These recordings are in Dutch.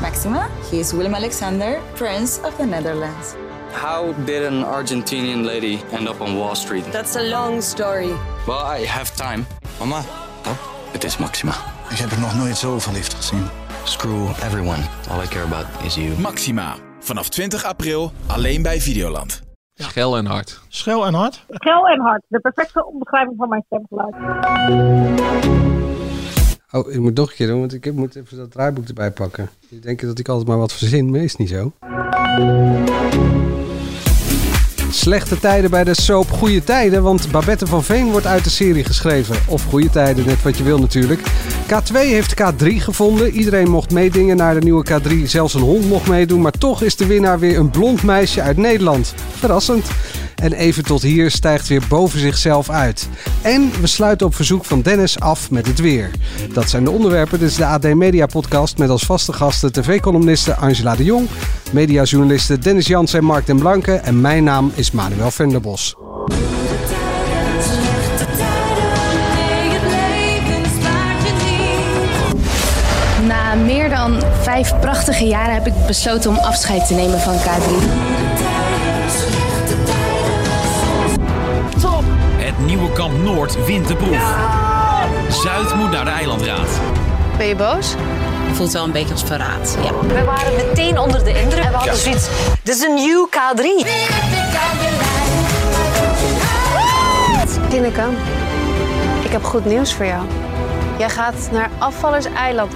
Maxima. He is Willem Alexander, Prince of the Netherlands. How did an Argentinian lady end up on Wall Street? That's a long story. Well, I have time. Mama, Het is Maxima. Ik heb er nog nooit zo verliefd gezien. Screw everyone. All I care about is you. Maxima. Vanaf 20 april alleen bij Videoland. Schel en hard. Schel en hard. Gel en hard. De perfecte omschrijving van mijn stemgeluid. Oh, ik moet nog een keer doen, want ik heb- moet even dat draaiboek erbij pakken. Je denkt dat ik altijd maar wat verzin, maar is niet zo. Slechte tijden bij de soap Goede Tijden, want Babette van Veen wordt uit de serie geschreven. Of Goede Tijden, net wat je wil natuurlijk. K2 heeft K3 gevonden. Iedereen mocht meedingen naar de nieuwe K3. Zelfs een hond mocht meedoen, maar toch is de winnaar weer een blond meisje uit Nederland. Verrassend. En even tot hier stijgt weer boven zichzelf uit. En we sluiten op verzoek van Dennis af met het weer. Dat zijn de onderwerpen. Dit is de AD Media Podcast met als vaste gasten tv-columniste Angela de Jong, mediajournalisten Dennis Jans en Mark den Blanke. En mijn naam is Manuel Venderbos. Na meer dan vijf prachtige jaren heb ik besloten om afscheid te nemen van K3. Het nieuwe kamp Noord wint de proef. Zuid moet naar de eilandraad. Ben je boos? voelt wel een beetje als verraad. Ja. We waren meteen onder de indruk. En we hadden zoiets. Dit is een nieuw K3. Tineke, ik heb goed nieuws voor jou. Jij gaat naar Afvallers Eiland.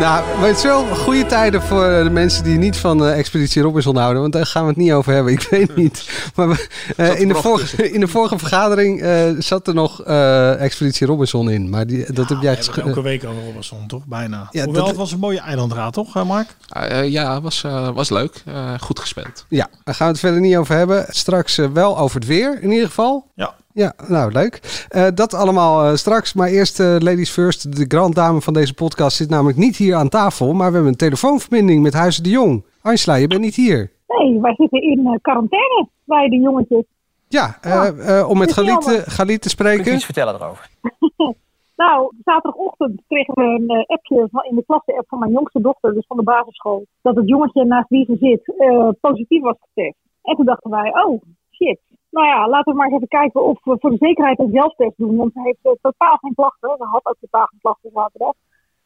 Nou, weet je wel, goede tijden voor eh, de mensen die niet van eh, Expeditie Robinson houden. Want daar gaan we het niet over hebben. Ik weet niet. Maar we- eh, in, de vorige, in de vorige vergadering eh, zat er nog eh, Expeditie Robinson in. Maar die, dat heb jij We ges- hebben elke week over Robinson, toch? Bijna. Ja, Hoewel, dat- het was een mooie eilandraad, toch, eh, Mark? Eh, eh, ja, was, eh, was leuk. Eh, goed gespeeld. Ja, daar gaan we het verder niet over hebben. Straks eh, wel over het weer, in ieder geval. Ja. Ja, nou leuk. Eh, dat allemaal eh, straks. Maar eerst, eh, ladies first, de grand dame van deze podcast zit namelijk niet hier aan tafel. Maar we hebben een telefoonverbinding met Huizen de Jong. Angela, je bent niet hier. Nee, wij zitten in eh, quarantaine bij de jongetjes. Ja, eh, eh, om met dat is Galit, jammer. te- Galit te spreken. Kun je iets vertellen erover? Nou, zaterdagochtend kregen we een eh, appje van, in de klasse-app van mijn jongste dochter, dus van de basisschool, dat het jongetje naast wie ze zit eh, positief was getest. En toen dachten wij, oh shit. Nou ja, laten we maar eens even kijken of we voor de zekerheid een zelftest doen, want ze heeft eh, totaal geen klachten. Ze had ook totaal geen klachten zaterdag.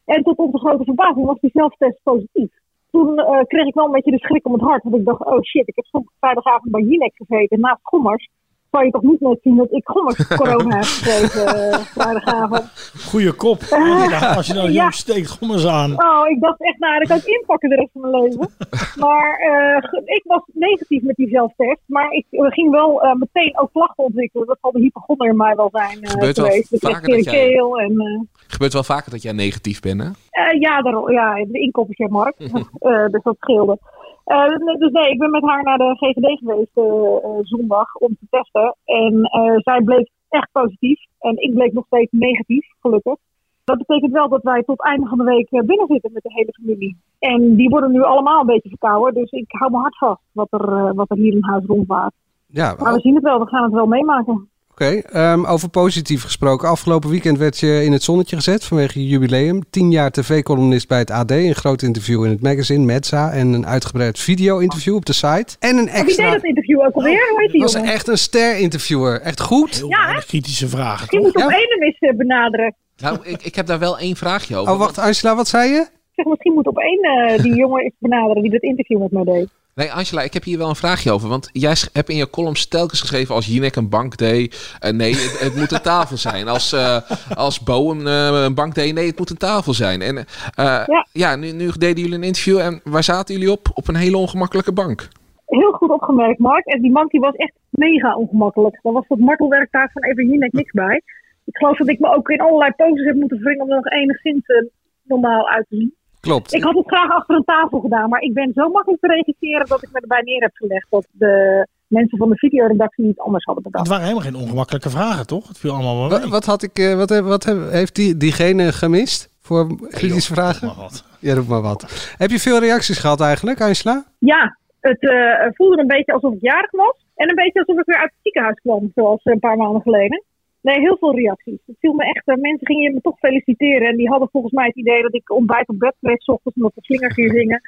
En tot onze grote verbazing was die zelftest positief. Toen eh, kreeg ik wel een beetje de schrik om het hart, want ik dacht, oh shit, ik heb zondag vrijdagavond bij Jinek gezeten naast Gommers. Kan je toch niet net zien dat ik Gommers corona heb gekregen eh, vrijdagavond? Goeie kop. Ja, als je nou Ja. jong steekt, kom eens aan. Ehm, Oh, ik dacht echt, nou, dat kan ik inpakken de rest van mijn leven. Maar eh, ge- ik was negatief met die zelftest. Maar ik eh, ging wel eh, meteen ook klachten ontwikkelen. Dat zal de hypochonder in mij wel zijn eh, Gebeurt wel geweest. Dus echt vaker in de dat jij- keel en... eh, Gebeurt wel vaker dat jij negatief bent, hè? eh, ja, daar, ja, de inkoppertje Mark. Eh, dus dat scheelde. Eh, nee, dus nee, ik ben met haar naar de GGD geweest eh, eh, zondag om te testen. En eh, zij bleek echt positief. En ik bleek nog steeds negatief, gelukkig. Dat betekent wel dat wij tot einde van de week eh, binnen zitten met de hele familie. En die worden nu allemaal een beetje verkouden. Dus ik hou mijn hart vast wat er, eh, wat er hier in huis rondwaart. Ja, Maar oké. we zien het wel, we gaan het wel meemaken. Ehm, over positief gesproken. Afgelopen weekend werd je in het zonnetje gezet vanwege je jubileum. Tien jaar tv-columnist bij het AD. Een groot interview in het magazine Metza. En een uitgebreid video-interview op de site. En een En wie deed extra... dat interview ook alweer? Hoe heet die was jongen? echt een ster-interviewer. Echt goed. Heel Ja, hè? kritische vragen. Je moet op Enemis eh, benaderen. Nou, ik, ik heb daar wel één vraagje over. Oh, wacht, Angela, wat zei je? Ik zeg, misschien moet op één eh, die jongen eens benaderen die dat interview met mij deed. Nee, Angela, ik heb hier wel een vraagje over. Want jij sch- hebt in je columns telkens geschreven als Jinek een bank deed. eh, nee, het, het moet een tafel zijn. Als, eh als Bo een, eh, een bank deed, nee, het moet een tafel zijn. En eh, ja, nu, nu deden jullie een interview en waar zaten jullie op? Op een hele ongemakkelijke bank. Heel goed opgemerkt, Mark. En die man die was echt mega ongemakkelijk. Daar was dat martelwerktaak van even hier niks bij. Ik geloof dat ik me ook in allerlei poses heb moeten wringen om er nog enigszins eh, normaal uit te zien. Klopt. Ik had het graag achter een tafel gedaan, maar ik ben zo makkelijk te regisseren dat ik me erbij neer heb gelegd dat de mensen van de videoredactie niet anders hadden bedacht. Het waren helemaal geen ongemakkelijke vragen, toch? Het viel allemaal wel Wat, wat had ik, eh, wat, heb- wat heb- heeft die, diegene gemist voor kritische vragen? maar wat. Ja, roep maar wat. Heb je veel reacties gehad eigenlijk, Angela? Ja, het eh, voelde een beetje alsof ik jarig was. En een beetje alsof ik weer uit het ziekenhuis kwam, zoals een paar maanden geleden. Nee, heel veel reacties. Het viel me echt, eh, mensen gingen me toch feliciteren. En die hadden volgens mij het idee dat ik ontbijt op bed kreeg, 's ochtends omdat de slinger ging zingen.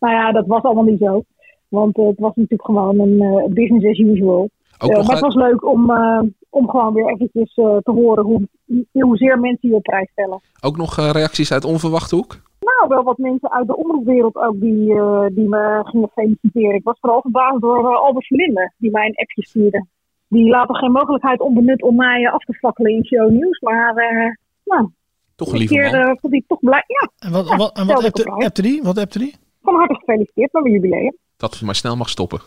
nou ja, dat was allemaal niet zo. Want eh, het was natuurlijk gewoon een eh, business as usual. Ook Eh, nog maar het uit- was leuk om, eh, om gewoon weer eventjes eh, te horen hoe, hoezeer mensen je op prijs stellen. Ook nog eh, reacties uit onverwachte hoek? Nou, wel wat mensen uit de omroepwereld ook die, eh, die me gingen feliciteren. Ik was vooral verbaasd door eh, Albert Verlinde, die mij een appje stuurde. Die laten geen mogelijkheid onbenut om mij eh, af te fakkelen in show nieuws. Maar eh nou, Toch een keer eh, vond ik toch blij. Ja, En wat, Ja, wat, en wat stelde ik appte, op prijs. appte die? Wat appte die? van harte gefeliciteerd met mijn jubileum. Dat het maar snel mag stoppen.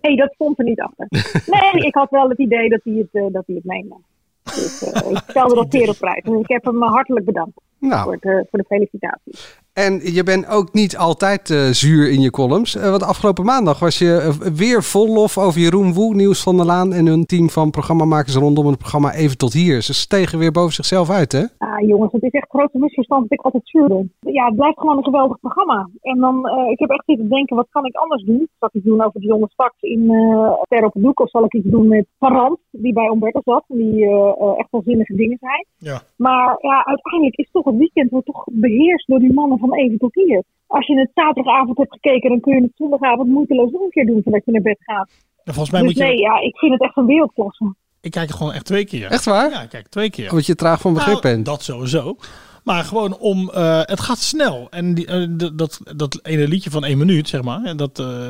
nee, dat stond er niet achter. Nee, ik had wel het idee dat hij het, eh, dat hij het meenam. Dus eh, ik stelde dat zeer op prijs. Dus ik heb hem eh, hartelijk bedankt Nou. voor, het, eh, voor de felicitaties. En je bent ook niet altijd eh, zuur in je columns. Eh, want afgelopen maandag was je eh, weer vol lof over Jeroen Woe, Nieuws van der Laan en hun team van programmamakers rondom het programma Even tot hier. Ze stegen weer boven zichzelf uit, hè? Ah, jongens, het is echt een grote misverstand dat ik altijd zuur ben. Ja, het blijft gewoon een geweldig programma. En dan, eh, ik heb echt zitten denken, wat kan ik anders doen? Zal ik iets doen over de jonge straks in eh Ter op het Doek? Of zal ik iets doen met Parant, die bij Umberto zat, die eh, eh, echt wel zinnige dingen zei? Ja. Maar ja, uiteindelijk is toch het weekend wordt toch beheerst door die mannen van even tot hier. Als je het zaterdagavond hebt gekeken, dan kun je het zondagavond moeiteloos nog een keer doen voordat je naar bed gaat. En volgens mij dus moet je... nee, ja, ik vind het echt een wereldklasse. Ik kijk het gewoon echt twee keer. Echt waar? Ja, ik kijk twee keer. Omdat je traag van begrip Nou, bent. Dat sowieso. Maar gewoon om, eh, het gaat snel. En die, eh, d- dat, dat ene liedje van één minuut, zeg maar, en dat, eh,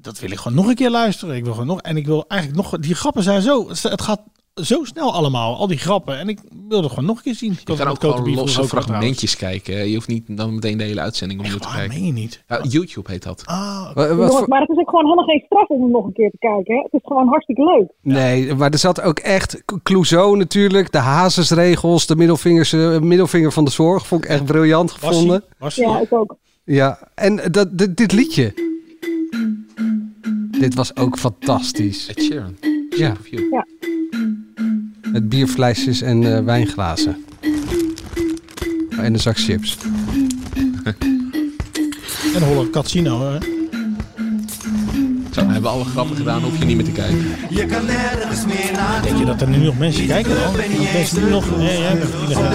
dat wil ik gewoon nog een keer luisteren. Ik wil gewoon nog, en ik wil eigenlijk nog, die grappen zijn zo, het gaat zo snel allemaal, al die grappen. En ik wil het gewoon nog een keer zien. Ik Je had kan het met ook Cote gewoon Bier losse vroeger ook trouwens. fragmentjes kijken. hè. Je hoeft niet dan meteen de hele uitzending opnieuw te Waar, kijken. meen je niet? Ja, YouTube heet dat. Ah, Wa- wat Jongens, voor- maar het is ook gewoon helemaal geen straf om het nog een keer te kijken. Hè? Het is gewoon hartstikke leuk. Nee, maar er zat ook echt K- Clouseau natuurlijk, de hazesregels, de middelvingers, eh, middelvinger van de zorg. Vond ik echt briljant was ie? gevonden. Was ie? Ja, ik ook. Ja, en dat, dit, dit liedje. Dit was ook fantastisch. Ed Sheeran. Ja, Of you. met bierflesjes en eh, wijnglazen. En een zak chips. En Holland Casino. hè? Zo, we hebben alle grappen gedaan, hoef je niet meer te kijken. Denk je dat er nu nog mensen kijken dan? Dat mensen nu nog... Nee, jij bent niet meer-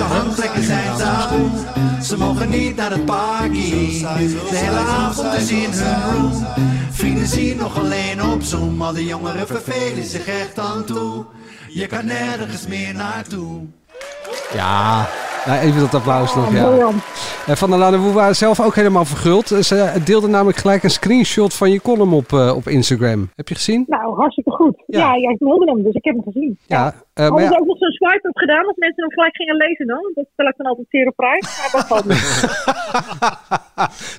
Ja. Nou, even dat applaus nog, Ja, ja. briljant. En Van der Laan en Woe waren zelf ook helemaal verguld. Ze deelde namelijk gelijk een screenshot van je column op, eh, op Instagram. Heb je gezien? Nou, hartstikke goed. Ja. Ja, jij meldde hem, dus ik heb hem gezien. Ja. eh, maar Hadden ze ja, ook nog zo'n swipe op gedaan, dat mensen hem gelijk gingen lezen dan? Dat stel ik dan altijd zeer op prijs. Maar dat valt niet.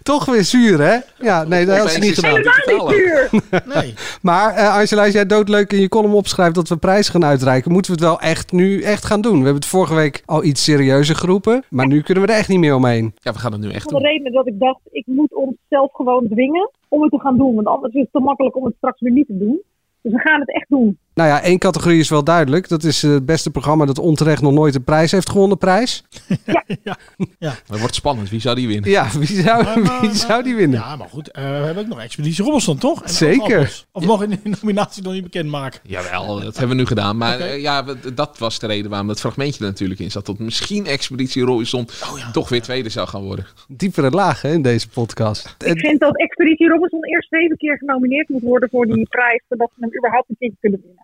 toch weer zuur, hè? Ja, nee, dat had ze niet Opeens is gedaan. het Helemaal digitaal niet ook. duur! Nee. Maar eh, Angela, als jij doodleuk in je column opschrijft dat we prijzen gaan uitreiken, moeten we het wel echt nu echt gaan doen. We hebben het vorige week al iets serieuzer geroepen, maar nu kunnen we er echt niet meer omheen. Ja, we gaan het nu echt Van de doen. reden dat ik dacht, ik moet ons zelf gewoon dwingen om het te gaan doen. Want anders is het te makkelijk om het straks weer niet te doen. Dus we gaan het echt doen. Nou ja, één categorie is wel duidelijk. Dat is eh, het beste programma dat onterecht nog nooit een prijs heeft gewonnen, prijs. Het wordt spannend. Wie zou die winnen? Ja, wie zou, wie zou die winnen? Eh, Ja, maar goed, eh, we hebben ook nog Expeditie Robinson, toch? En Zeker. Appels. Of mogen we de nominatie nog niet bekendmaken? Jawel, dat hebben we nu gedaan. Maar eh, ja, we- dat was de reden waarom dat fragmentje er natuurlijk in zat. Dat misschien Expeditie Robinson toch weer tweede zou gaan worden. Diepere lagen hè, in deze podcast. Eh, Ik vind dat Expeditie Robinson eerst zeven keer genomineerd moet worden voor die prijs. Zodat ze hem überhaupt een keertje kunnen winnen.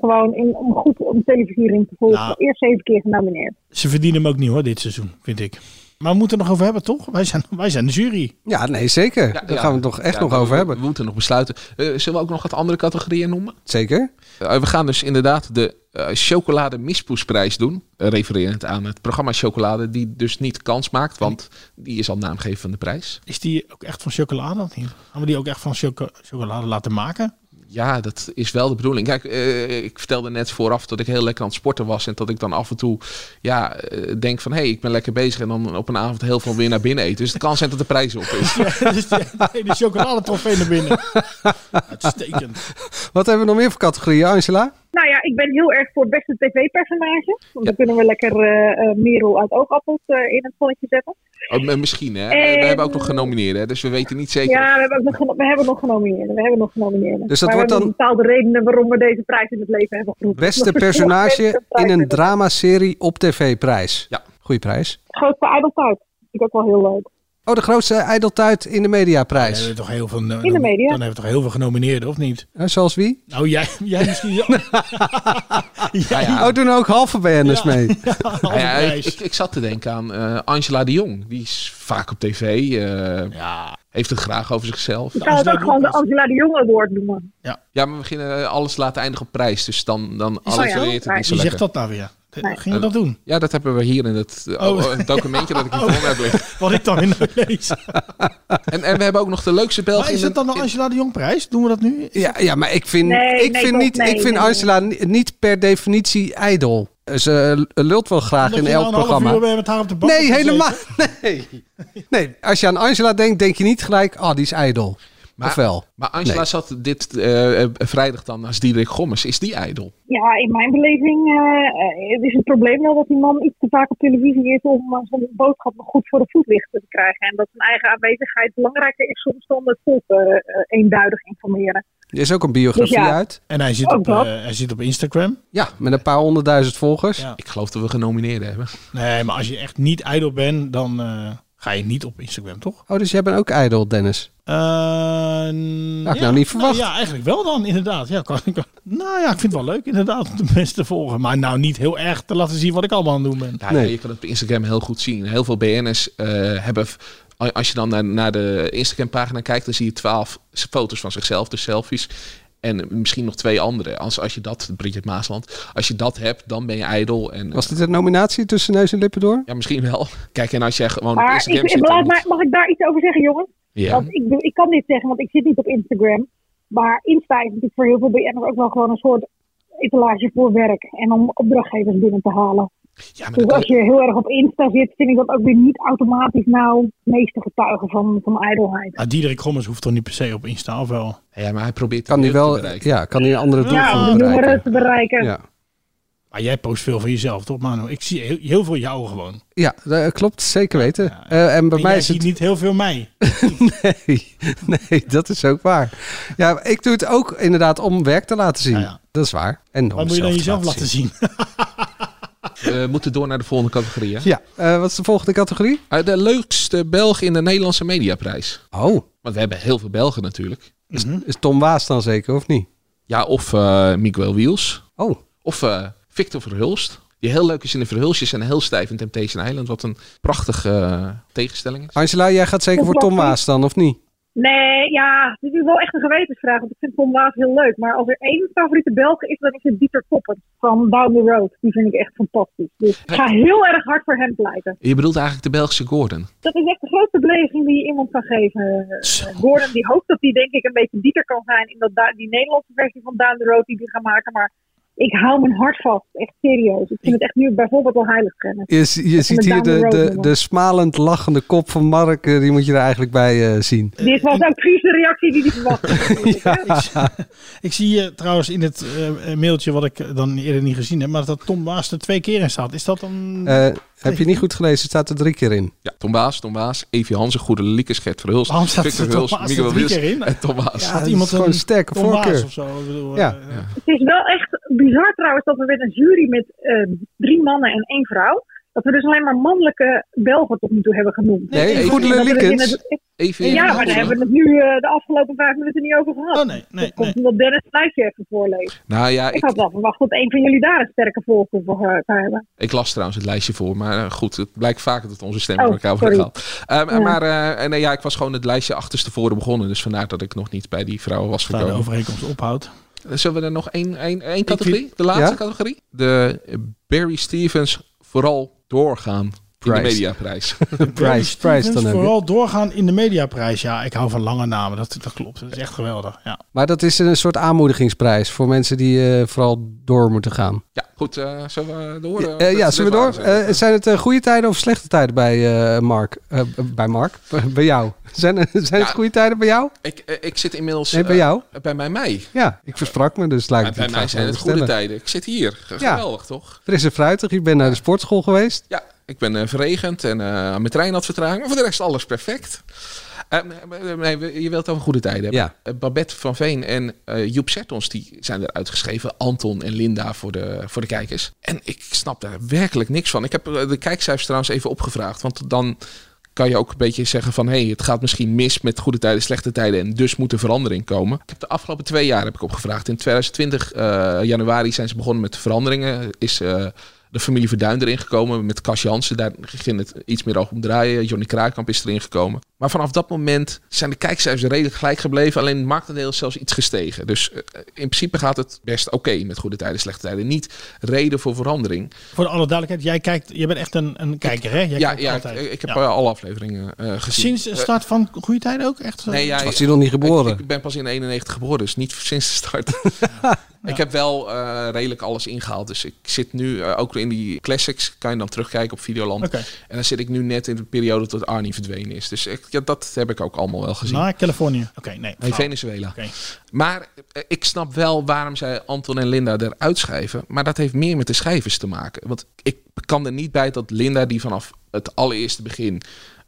gewoon in, om goed om televisiering te volgen. Nou. Eerst zeven keer genomineerd. Ze verdienen hem ook niet hoor, dit seizoen, vind ik. Maar we moeten het nog over hebben, toch? Wij zijn, wij zijn de jury. Ja, nee, zeker. Daar gaan we het toch echt Ja, nog we- over we- hebben. We moeten nog besluiten. Eh, zullen we ook nog wat andere categorieën noemen? Zeker. Eh, we gaan dus inderdaad de eh, chocolade mispoesprijs doen. eh, refererend aan het programma Chocolade, die dus niet kans maakt, want die is al naamgever van de prijs. Is die ook echt van chocolade? of niet? Gaan we die ook echt van choco- chocolade laten maken? Ja, dat is wel de bedoeling. Kijk, eh, ik vertelde net vooraf dat ik heel lekker aan het sporten was. En dat ik dan af en toe ja, eh, denk van... hé, hey, ik ben lekker bezig. En dan op een avond heel veel weer naar binnen eten. Dus het kan zijn dat de prijs op is. dus die, nee, die chocoladetrofee naar binnen. Uitstekend. Wat hebben we nog meer voor categorieën, Angela? Nou ja, ja, ik ben heel erg voor het beste tv-personage. Want dan kunnen we lekker eh, eh, Merel uit Oogappels eh, in het zonnetje zetten. Oh, m- misschien, hè? En- We hebben ook nog genomineerd, hè? Dus we weten niet zeker. Ja, we hebben, ook nog, geno- we hebben nog genomineerden. We hebben nog genomineerden. Dus dat Maar wordt we dan- hebben bepaalde redenen waarom we deze prijs in het leven hebben geroepen. Beste personage in een dramaserie op tv-prijs. Ja. Goeie prijs. Grootste ijdeltuit. Vind ik ook wel heel leuk. Oh, de grootste ijdeltuit in de mediaprijs. hebben toch heel veel, eh, In de media. Dan hebben we toch heel veel genomineerden, of niet? Eh, zoals wie? Nou, jij, jij misschien. Ja. Oh, doen ook halve BN'ers mee. Nou ja, ik, ik, ik zat te denken aan eh, Angela de Jong. Die is vaak op tv. eh, Heeft het graag over zichzelf. Ik zou het ook gewoon de Angela de Jong Award noemen. Ja, maar we beginnen eh, alles laten eindigen op prijs. Dus dan, dan Oh ja. allitereert het Maar niet zo Wie zegt lekker. dat nou weer? De- Nee. Ging je dat doen? Ja, dat hebben we hier in het eh, Oh. oh, een documentje dat ik hier voor me heb liggen. Wat ik dan in lees. En, en we hebben ook nog de leukste Belg Maar is in het de... dan de Angela de Jong prijs? Doen we dat nu? Ja, ja maar ik vind, Nee, ik nee, vind, toch, niet, nee, ik vind nee. Angela ni- niet per definitie ijdel. Ze lult wel graag Omdat in je nou een elk half programma. uur weer met haar op de bank nee, hebt helemaal. gezeten? Nee. nee, als je aan Angela denkt, denk je niet gelijk, ah, die is ijdel. Maar- of wel? Maar Angela Nee. zat dit eh, eh, vrijdag dan naast Diederik Gommers. Is die ijdel? Ja, in mijn beleving eh, eh, het is het probleem wel dat die man iets te vaak op televisie is om eh, zijn boodschap nog goed voor de voetlichten te krijgen. En dat zijn eigen aanwezigheid belangrijker is soms dan het volk eh, eh, eenduidig informeren. Er is ook een biografie Dus ja. uit. En hij zit, Ook op, dat. eh, hij zit op Instagram. Ja, met een paar honderdduizend volgers. Ja. Ik geloof dat we genomineerd hebben. Nee, maar als je echt niet ijdel bent, dan eh, ga je niet op Instagram, toch? Oh, dus jij bent ook ijdel, Dennis. Eh, ik nou niet verwacht. ja, eigenlijk wel dan, inderdaad. Ja, kan, kan- nou ja, ik vind het wel leuk inderdaad om de mensen te volgen. Maar nou niet heel erg te laten zien wat ik allemaal aan het doen ben. Ja, Nee. ja, je kan het op Instagram heel goed zien. Heel veel BN'ers eh, hebben... f- a- Als je dan naar, naar de Instagram-pagina kijkt, dan zie je twaalf foto's van zichzelf, dus selfies. En misschien nog twee andere. Als, als je dat, Bridget Maasland, als je dat hebt, dan ben je ijdel. En, eh, Was dit een nominatie tussen neus en lippen door? Ja, misschien wel. Kijk, en als jij gewoon op Maar Instagram ik, zit... laat dan- maar, mag ik daar iets over zeggen, jongens? Ja. Want ik, bedoel, ik kan dit zeggen, want ik zit niet op Instagram. Maar Insta is natuurlijk voor heel veel BN'ers ook wel gewoon een soort etalage voor werk. En om opdrachtgevers binnen te halen. ja, maar Dus dat, als je heel erg op Insta zit, vind ik dat ook weer niet automatisch nou het meeste getuigen van, van ijdelheid. Nou, Diederik Gommers hoeft toch niet per se op Insta, of wel? ja, maar hij probeert Kan die jeugd te wel, bereiken. ja, kan die een andere doelgroep Ja, om de jongeren bereiken? te bereiken. Ja. Maar jij post veel van jezelf, toch, Manu? Ik zie heel, heel veel jou gewoon. ja, dat klopt, zeker weten. Eh, en bij en mij jij is het ziet niet heel veel mij. Nee, nee, dat is ook waar. Ja, ik doe het ook inderdaad om werk te laten zien. Ja, ja. Dat is waar. En om Wat moet je dan te jezelf laten zien? We moeten door naar de volgende categorie. Hè? Ja, eh, wat is de volgende categorie? Eh, De leukste Belg in de Nederlandse Mediaprijs. Oh, Want we hebben heel veel Belgen natuurlijk. Mhm. is Tom Waas dan zeker of niet? Ja, of eh, Miguel Wiels. Oh, Of eh, Victor Verhulst. Die heel leuk is in de Verhulstjes en heel stijf in Temptation Island. Wat een prachtige eh, tegenstelling is. Angela, jij gaat zeker voor Tom Waas dan of niet? Nee, ja, dit is wel echt een gewetensvraag. Want ik vind Tom Waas heel leuk. Maar als er één favoriete Belg is, dan is het Dieter Koppen van Down the Road. Die vind ik echt fantastisch. Dus ik ga heel erg hard voor hem pleiten. Je bedoelt eigenlijk de Belgische Gordon. Dat is echt de grootste beleving die je iemand kan geven. Eh, Gordon die hoopt dat hij denk ik een beetje dieter kan zijn in dat, da- die Nederlandse versie van Down the Road die hij gaat maken. Maar ik hou mijn hart vast. Echt serieus. Ik vind het echt nu bijvoorbeeld al heilig kennen. Je, z- je ziet hier de, de, de smalend lachende kop van Mark, eh, die moet je er eigenlijk bij eh, zien. Dit was ook precies de reactie die hij verwachtte. Ik zie eh, trouwens in het eh, mailtje wat ik eh, dan eerder niet gezien heb, maar dat Tom Waas er twee keer in staat. Is dat dan... Eh, heb je niet goed gelezen, het staat er drie keer in. Ja, Tom Baas, Tom Baas, Evie Hansen, Goede Liekes, Gert Verhulst, Waarom staat er Tom Waas er drie keer in? en Tom Baas. dat is gewoon een sterke Tom Waas voorkeur. of zo? Ik bedoel, Ja. eh, Het is wel echt bizar trouwens dat we met een jury met eh, drie mannen en één vrouw. Dat we dus alleen maar mannelijke Belgen tot nu toe hebben genoemd. Nee, Nee, Goede En dat we dus in Liekens. het- Evie Ja, maar daar Hansen. hebben we het nu eh, de afgelopen vijf minuten niet over gehad. Oh, nee, nee, dat komt nee. omdat Dennis het lijstje even voorleest. Nou ja, Ik ik, had wel verwacht dat een van jullie daar een sterke voorkeur voor eh, zou hebben. ik las trouwens het lijstje voor, maar eh, goed, het blijkt vaker dat onze stemmen Oh, door elkaar worden sorry. gehaald. Ehm, Maar eh, nee, ja, ik was gewoon het lijstje achterstevoren begonnen, dus vandaar dat ik nog niet bij die vrouwen was Daar de gekomen. overeenkomst ophoudt. Zullen we er nog één, één, één categorie? De laatste Ja? categorie? De Barry Stevens vooral doorgaan in de Prijs. mediaprijs. Prijs, prijs dan heb je. Vooral doorgaan in de mediaprijs. Ja, ik hou van lange namen. Dat, dat klopt. Dat is echt geweldig. Ja. Maar dat is een soort aanmoedigingsprijs voor mensen die eh, vooral door moeten gaan. ja, goed. Goed, eh, zullen we door? Ja, eh, ja, zullen we door? Eh, zijn het eh, goede tijden of slechte tijden bij eh, Mark? Eh, b- bij Mark? bij jou? Zijn, er- zijn Ja. het goede tijden bij jou? ik, eh, ik zit inmiddels... Nee, bij eh, jou? bij mij mij. Ja, ik versprak me, dus laat ik Bij, bij die mij vraag zijn maar het even goede stellen. tijden. Ik zit hier. Ge- Ja. Geweldig, toch? Fris en fruitig, je bent naar de sportschool geweest. Ja, ik ben eh, verregend en eh, mijn trein had vertraging. Maar voor de rest alles perfect. Eh, nee, nee, we- je wilt het over goede tijden hebben. Ja. Eh, Babette van Veen en eh, Joep Sertons die zijn eruit geschreven. Anton en Linda voor de, voor de kijkers. En ik snap daar werkelijk niks van. Ik heb eh, de kijkcijfers trouwens even opgevraagd. Want dan kan je ook een beetje zeggen van... hé, hey, het gaat misschien mis met goede tijden, slechte tijden... en dus moet er verandering komen. Ik heb de afgelopen twee jaar heb ik opgevraagd. In 2020, eh, januari, zijn ze begonnen met veranderingen. Is... eh, de familie Verduin erin gekomen met Cas Jansen. Daar ging het iets meer over draaien. Johnny Kraaikamp is erin gekomen. Maar vanaf dat moment zijn de kijkcijfers redelijk gelijk gebleven. Alleen het marktendeel is zelfs iets gestegen. Dus eh, in principe gaat het best oké met goede tijden, slechte tijden. Niet reden voor verandering. Voor alle duidelijkheid, jij kijkt, jij bent echt een, een kijker, hè? Jij ja, kijkt ja ik, altijd. ik heb Ja. eh, alle afleveringen eh, gezien. Sinds de start van Goede Tijden ook echt? Nee, ja, Was hij nog niet geboren? ik, ik ben pas in 91 geboren, dus niet sinds de start. Ik heb wel eh, redelijk alles ingehaald. Dus ik zit nu eh, ook in die classics. Kan je dan terugkijken op Videoland. Oké. En dan zit ik nu net in de periode dat Arnie verdwenen is. Dus ik, ja, dat heb ik ook allemaal wel gezien. Naar Californië. Oké, nee. Nee, Oh, Venezuela. Oké. Maar eh, ik snap wel waarom zij Anton en Linda eruit schrijven. Maar dat heeft meer met de schrijvers te maken. Want ik kan er niet bij dat Linda, die vanaf het allereerste begin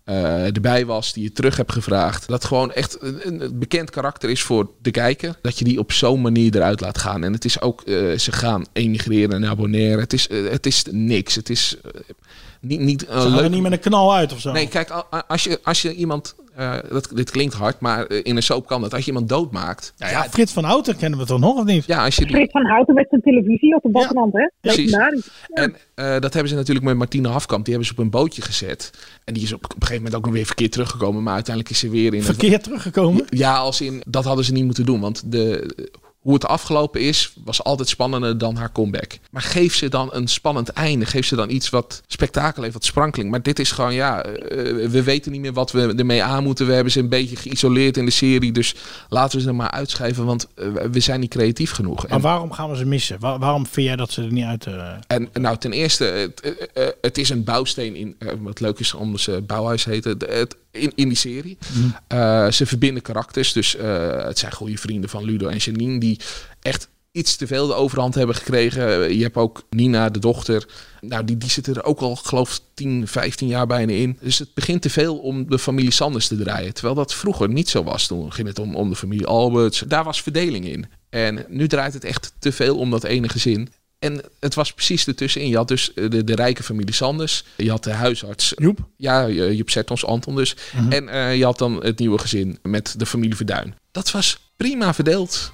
eh, erbij was, die je terug hebt gevraagd, dat gewoon echt een, een- een bekend karakter is voor de kijker. Dat je die op zo'n manier eruit laat gaan. En het is ook, eh, ze gaan emigreren naar Bonaire. Het is, eh, het is niks. Het is eh, niet, niet Ze een gaan er leuk niet met een knal uit of zo. Nee, kijk, a- a- als je, als je iemand. eh, dat, dit klinkt hard, maar eh, in een soap kan dat. Als je iemand doodmaakt. ja, ja, Frits van Houten kennen we toch nog of niet? Ja, als je die- Frits van Houten met zijn televisie op de Battenland, hè? precies. Legendarisch. En eh, dat hebben ze natuurlijk met Martine Hafkamp. Die hebben ze op een bootje gezet. En die is op, op een gegeven moment ook nog weer verkeerd teruggekomen. Maar uiteindelijk is ze weer in. het- Verkeerd teruggekomen. Ja, als in. Dat hadden ze niet moeten doen. Want de, hoe het afgelopen is, was altijd spannender dan haar comeback. Maar geef ze dan een spannend einde. Geef ze dan iets wat spektakel heeft, wat sprankeling. Maar dit is gewoon, ja, eh, we weten niet meer wat we ermee aan moeten. We hebben ze een beetje geïsoleerd in de serie. Dus laten we ze er maar uitschrijven, want eh, we zijn niet creatief genoeg. Maar En, waarom gaan we ze missen? Waar- waarom vind jij dat ze er niet uit... eh, en nou, ten eerste, het, eh, eh, het is een bouwsteen in, eh, wat leuk is om ze bouwhuis heten, de- het, in, in die serie. Eh, ze verbinden karakters, dus eh, het zijn goede vrienden van Ludo en Janine die echt iets te veel de overhand hebben gekregen. Je hebt ook Nina, de dochter. Nou, die, die zitten er ook al, geloof ik, 10, 15 jaar bijna in. Dus het begint te veel om de familie Sanders te draaien. Terwijl dat vroeger niet zo was. Toen ging het om, om de familie Alberts. Daar was verdeling in. En nu draait het echt te veel om dat ene gezin. En het was precies ertussenin. Je had dus eh, de, de rijke familie Sanders. Je had de huisarts eh, Joep? ja, je Joep Sertons, Anton dus. En eh, je had dan het nieuwe gezin met de familie Verduin. Dat was prima verdeeld.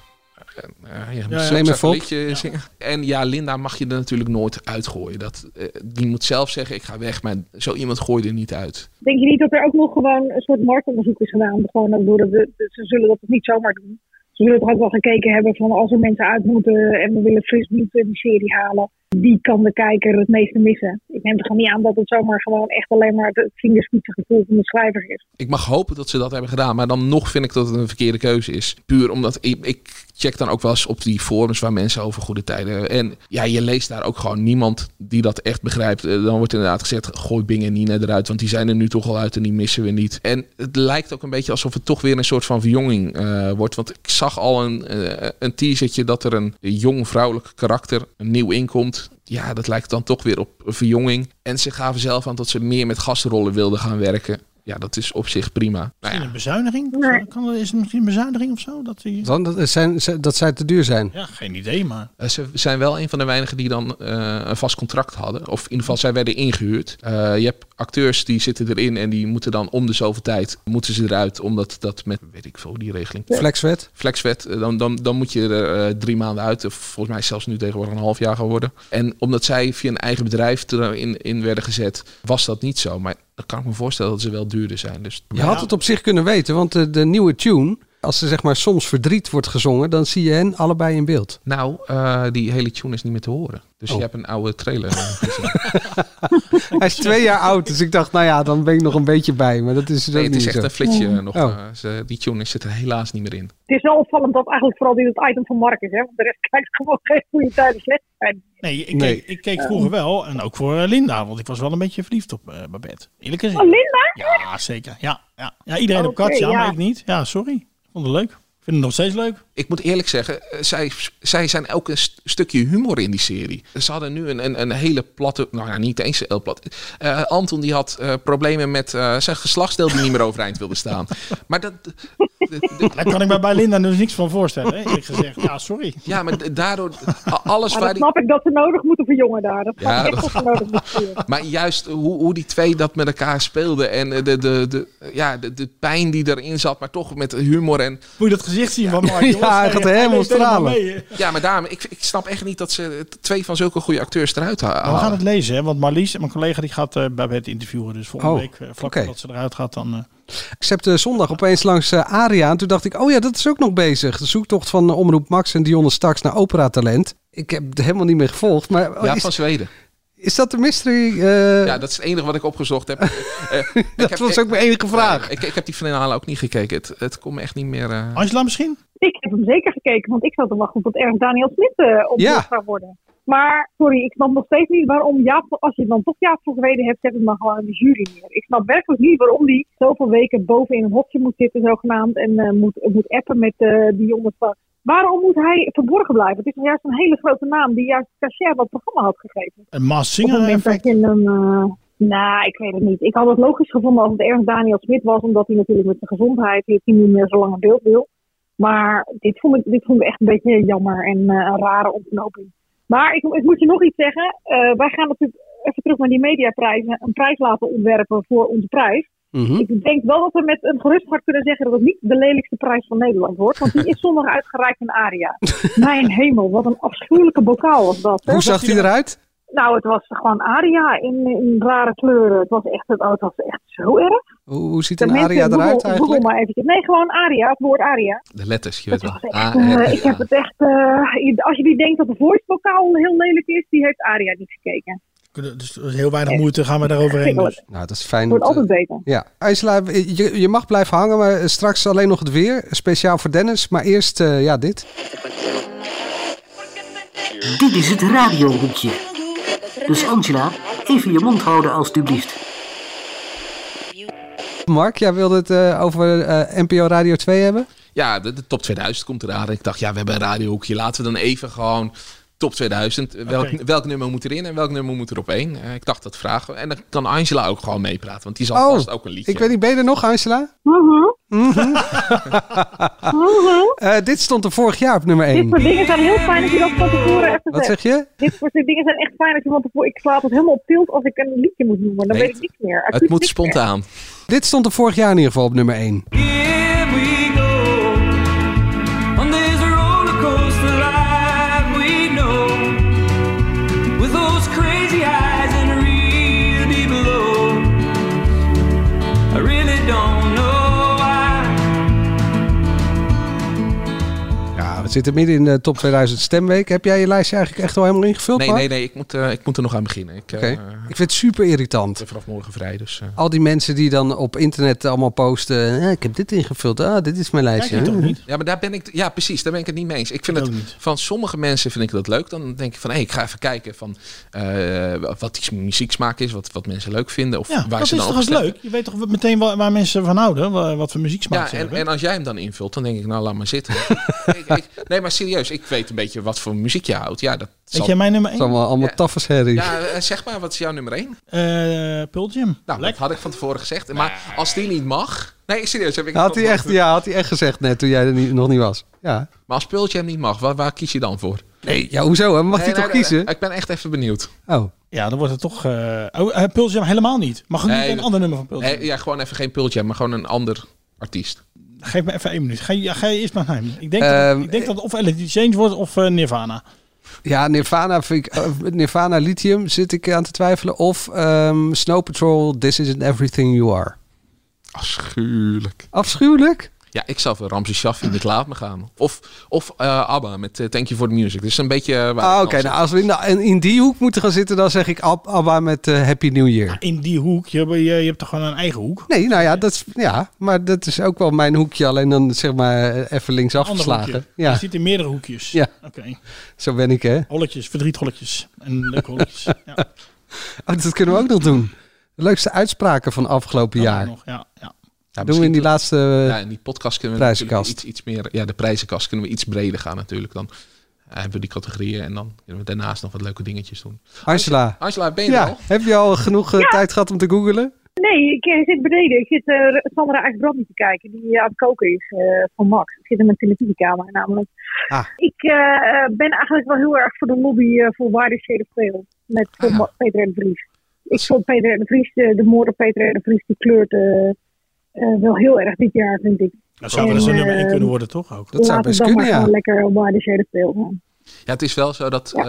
Eh, eh, ja, ja. zo- Neem zo- even op. liedje zingen. En ja, Linda mag je er natuurlijk nooit uitgooien. Dat, eh, die moet zelf zeggen, ik ga weg. Maar zo iemand gooi je er niet uit. Denk je niet dat er ook nog gewoon een soort marktonderzoek is gedaan? Gewoon ook door de, de- ze zullen dat niet zomaar doen. Ze zullen toch ook wel gekeken hebben van als er mensen uit moeten en we willen fris bloed in die serie halen. Die kan de kijker het meeste missen. Ik neem er gewoon niet aan dat het zomaar gewoon echt alleen maar het vingerspitse gevoel van de schrijver is. Ik mag hopen dat ze dat hebben gedaan. Maar dan nog vind ik dat het een verkeerde keuze is. Puur omdat ik, ik check dan ook wel eens op die forums waar mensen over goede tijden. En ja, je leest daar ook gewoon niemand die dat echt begrijpt. Eh, Dan wordt inderdaad gezegd: gooi Bing en Nina eruit. Want die zijn er nu toch al uit en die missen we niet. En het lijkt ook een beetje alsof het toch weer een soort van verjonging eh, wordt. Want ik zag al een, eh, een teasertje dat er een jong vrouwelijk karakter nieuw inkomt. Ja, dat lijkt dan toch weer op verjonging. En ze gaven zelf aan dat ze meer met gastrollen wilden gaan werken. Ja, dat is op zich prima. Nou Misschien ja, een bezuiniging? Nee. Kan, er- is het misschien een bezuiniging of zo? Dat die... Dan, dat, eh, zijn, ze- dat zij te duur zijn. Ja, geen idee, maar... eh, ze zijn wel een van de weinigen die dan eh, een vast contract hadden. Of in ieder geval, zij werden ingehuurd. Eh, je hebt acteurs die zitten erin en die moeten dan om de zoveel tijd moeten ze eruit. Omdat dat met, weet ik veel, die regeling. Flexwet. Flexwet, eh, dan, dan, dan moet je er eh, drie maanden uit. Of volgens mij is zelfs nu tegenwoordig een half jaar geworden. En omdat zij via een eigen bedrijf erin in werden gezet, was dat niet zo. Maar dan kan ik me voorstellen dat ze wel duurder zijn. Dus Je had het op zich kunnen weten, want eh, de, de nieuwe tune Als er zeg maar soms verdriet wordt gezongen, dan zie je hen allebei in beeld. Nou, eh, die hele tune is niet meer te horen. Dus je hebt een oude trailer eh, gezien. Hij is twee jaar oud, dus ik dacht, nou ja, dan ben ik nog een beetje bij. Maar dat is Nee, het niet is echt zo. een flitsje eh, nog. Oh. eh, ze- die tune zit er helaas niet meer in. Het is wel opvallend dat eigenlijk vooral dit het item van Mark is. Hè? Want de rest kijkt gewoon geen goede tijden slecht. Oh, En Nee, ik, Nee. Keek, ik keek vroeger wel. En ook voor eh, Linda. Want ik was wel een beetje verliefd op eh Babette. Eerlijk gezegd. Oh, Linda? Ja, zeker. Ja, ja. ja iedereen op Oké, Katja, ja. maar ik niet. Ja, sorry. Ik vond het leuk. Ik vind het nog steeds leuk. Ik moet eerlijk zeggen, eh, zij, zij zijn ook een st- stukje humor in die serie. Ze hadden nu een, een, een hele platte, nou ja, niet eens heel plat. Eh, Anton die had eh, problemen met eh, zijn geslachtsdeel die niet meer overeind wilde staan. Maar dat, Daar kan ik me bij Linda dus niks van voorstellen. hè, Eerlijk gezegd. Ja, sorry. ja, maar d- daardoor a- alles Maar waar dat die, snap ik dat ze nodig moeten verjongen daar. Dat snap Ja, ik echt dat- dat ze nodig moeten verjongen. maar juist hoe, hoe die twee dat met elkaar speelden en eh, de, de, de, ja, de, de pijn die erin zat, maar toch met humor en Moet je dat gezicht zien van Mark? jongens? Ja, hij gaat helemaal leeft stralen. mee, hè. Ja, maar daarom, ik, ik snap echt niet dat ze twee van zulke goede acteurs eruit ha- Maar halen. we gaan het lezen, hè? want Marlies, mijn collega, die gaat eh Babette interviewen. Dus volgende Oh, week, eh, vlak oké. voordat ze eruit gaat, dan... eh, Ik heb de zondag opeens langs eh, Aria en toen dacht ik, oh ja, dat is ook nog bezig. De zoektocht van eh, Omroep Max en Dionne Staks naar Opera Talent. Ik heb het helemaal niet meer gevolgd, maar oh, Ja, is, van Zweden. is dat de mystery? eh, Ja, dat is het enige wat ik opgezocht heb. Eh, ik dat heb- was ik- ook mijn enige vraag. Ik, ik heb die finale ook niet gekeken. Het, het komt me echt niet meer... eh, Angela misschien? Ik heb hem zeker gekeken, want ik zat te wachten tot Ernst Daniel Smit eh opgelost Ja. zou worden. Maar sorry, ik snap nog steeds niet waarom Jaap, als je dan toch Jaap voor geweten hebt, zet hem dan gewoon in de jury neer. Ik snap werkelijk niet waarom die zoveel weken boven in een hokje moet zitten, zogenaamd, en eh, moet, moet appen met eh, die jongen van. Waarom moet hij verborgen blijven? Het is nou juist een hele grote naam die juist cachet wat programma had gegeven. Een Maas Op het Singer moment dat effect. je hem. eh, nou, ik weet het niet. Ik had het logisch gevonden als het Ernst Daniel Smit was, omdat hij natuurlijk met zijn gezondheid dat hij niet meer zo lang in beeld wil. Maar dit vond ik, dit vond ik echt een beetje jammer en eh, een rare ontknoping. Maar ik, ik moet je nog iets zeggen. Eh, wij gaan natuurlijk even terug naar die mediaprijzen. Een prijs laten ontwerpen voor onze prijs. Mhm. Ik denk wel dat we met een gerust hart kunnen zeggen dat het niet de lelijkste prijs van Nederland wordt. Want die is zondag uitgereikt in Aria. Mijn hemel, wat een afschuwelijke bokaal was dat. hè? Hoe zag die eruit? Nou, het was gewoon Aria in, in rare kleuren. Het was echt, oh, het was echt zo erg. Hoe, hoe ziet De een Aria mensen, eruit Google- Google eigenlijk? maar eventjes. Nee, gewoon Aria, het woord Aria. de letters, je weet Het wel. was echt, Ah, eh, eh, ik heb ja. het echt. eh, je- als je die denkt dat de voice-vocaal heel lelijk is, die heeft Aria niet gekeken. Kunnen- Dus heel weinig moeite gaan we daaroverheen. Dus. Nou, dat is fijn. Het wordt om te- altijd eh. beter. Ja, Angela, je, je mag blijven hangen, maar eh, straks alleen nog het weer. Speciaal voor Dennis, maar eerst eh, ja, dit. Dit is het radiohoekje. Dus Angela, even je mond houden alstublieft. Mark, jij wilde het eh, over eh, NPO Radio 2 hebben? Ja, de, de top 2000 komt eraan. Ik dacht, ja, we hebben een radiohoekje. Laten we dan even gewoon top 2000. eh, Welk, Oké. welk nummer moet erin en welk nummer moet er op één? Eh, ik dacht dat vragen. we. En dan kan Angela ook gewoon meepraten. Want die zal vast ook een liedje Oh, ik weet niet, ben je er nog, Angela? Mhm. Eh, dit stond er vorig jaar op nummer Dit 1. soort dingen zijn heel fijn dat je dat van tevoren even Wat zegt. zeg je? Dit soort dingen zijn echt fijn dat je van tevoren. Ik sla het helemaal op tilt als ik een liedje moet noemen. Dan Nee, weet ik niks meer. Het Acuut moet niks meer. spontaan. Dit stond er vorig jaar in ieder geval op nummer 1. Here we go on this roller coaster ride we know with those crazy eyes and real deep low. I really don't know why. Ja, we zitten midden in de top 2000 stemweek. Heb jij je lijstje eigenlijk echt al helemaal ingevuld, Nee, Mark? nee, nee. Ik moet, eh, ik moet er nog aan beginnen. Ik, eh, Oké. Ik vind het super irritant. ben vanaf morgen vrij, dus... eh, Al die mensen die dan op internet allemaal posten. eh, ik heb dit ingevuld. Ah, dit is mijn lijstje. Kijk je toch niet? Ja, maar daar ben ik, ja, precies, daar ben ik het niet mee eens. Ik vind Ik het, ook niet. van sommige mensen vind ik dat leuk. Dan denk ik van, hé, ik ga even kijken van eh, wat die muzieksmaak is, wat, wat mensen leuk vinden. Of Ja, waar dat ze is dan toch op eens stemmen. leuk? Je weet toch wat- meteen wa- waar, mensen van houden? wa- Wat voor muziek smaak Ja, ze en, hebben? en als jij hem dan invult, dan denk ik, nou, laat maar zitten. ik, ik- nee, maar serieus, ik weet een beetje wat voor muziek je houdt. Ja, dat Weet zal- jij mijn nummer Het 1? is allemaal, allemaal Ja. taffes, Harry. ja eh, zeg maar, wat is jouw nummer één? Eh Pearl Jam. Nou, dat had ik van tevoren gezegd. Maar als die niet mag... Nee, serieus, heb ik... Had hij echt, ja, had hij echt gezegd net toen jij er niet- nog niet was. Ja. Maar als Pearl Jam niet mag, waar, waar kies je dan voor? Nee, ja, hoezo? Hè? Mag Nee, hij nee, toch nee, kiezen? Ik ben echt even benieuwd. Oh, Ja, dan wordt het toch... eh oh, eh, Pearl Jam helemaal niet. Mag ook niet Nee, een ander nummer van Pearl Jam. Eh, ja, gewoon even geen pultje, maar gewoon een ander artiest. Geef me even één minuut. Ga, je- ja, ga je eerst maar naar hem. Ik denk, Ehm, dat, ik denk dat het of Ellie Change wordt of eh, Nirvana. ja, Nirvana, vind ik, eh, Nirvana Lithium zit ik aan te twijfelen. Of ehm, Snow Patrol, This Isn't Everything You Are. Afschuwelijk. Afschuwelijk? Ja, ik zou voor Ramzi Shaffi met Laat me gaan. Of, of eh, ABBA met eh, Thank You For The Music. Dus een beetje... eh, waar Ah, ik Oké, dan nou, als we in, de- in- in die hoek moeten gaan zitten, dan zeg ik Ab- ABBA met eh, Happy New Year. In die hoek, je, hebt- je, je hebt toch gewoon een eigen hoek? Nee, nou ja, dat, is- ja, maar dat is ook wel mijn hoekje. Alleen dan zeg maar eh, even links Een ander afgeslagen. hoekje. Je Ja, zit in meerdere hoekjes. Ja. Oké. zo ben ik, hè. Holletjes, verdrietholletjes en leuke holletjes. Ja, Oh, dat kunnen we ook nog doen. De leukste uitspraken van afgelopen jaar. nog, ja, ja. doen we in die laatste... eh, Ja, in die podcast kunnen we prijzenkast. natuurlijk iets, iets meer... Ja, de prijzenkast kunnen we iets breder gaan natuurlijk. Dan eh, hebben we die categorieën en dan kunnen we daarnaast nog wat leuke dingetjes doen. Angela. Angela, ben je er Ja, al? heb je al genoeg eh, tijd gehad om te googelen? Nee, ik eh, zit beneden. Ik zit eh Sandra Aagbrandi te kijken, die eh, aan het koken is eh, voor Max. Ik zit in mijn televisiekamer namelijk. Ah. Ik eh, eh, ben eigenlijk wel heel erg voor de lobby eh, voor Waarde Shade of Pale met Ah, voor Ma- Peter R. de Vries. Ik vond Peter R. de Vries, eh, de moord op Peter R. de Vries, die kleurt eh, eh, wel heel erg dit jaar, vind ik. Dat zou wel eens een En, nummer één eh, kunnen worden, toch? Ook. Dat zou laten we best dan kunnen, maar ja. gewoon lekker Waarde Shade of Pale gaan. Ja, het is wel zo dat eh,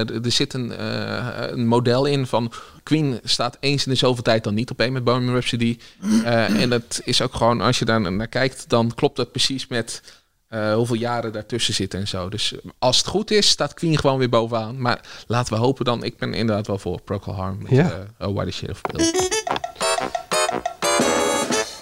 d- er zit een, eh, een model in van Queen staat eens in de zoveel tijd dan niet op één met Bohemian Rhapsody. Eh, en dat is ook gewoon, als je daar naar kijkt, dan klopt dat precies met eh, hoeveel jaren daartussen zitten en zo. Dus als het goed is, staat Queen gewoon weer bovenaan. Maar laten we hopen dan, ik ben inderdaad wel voor Procol Harm met Ja. eh Oh Why The Sheriff Bill.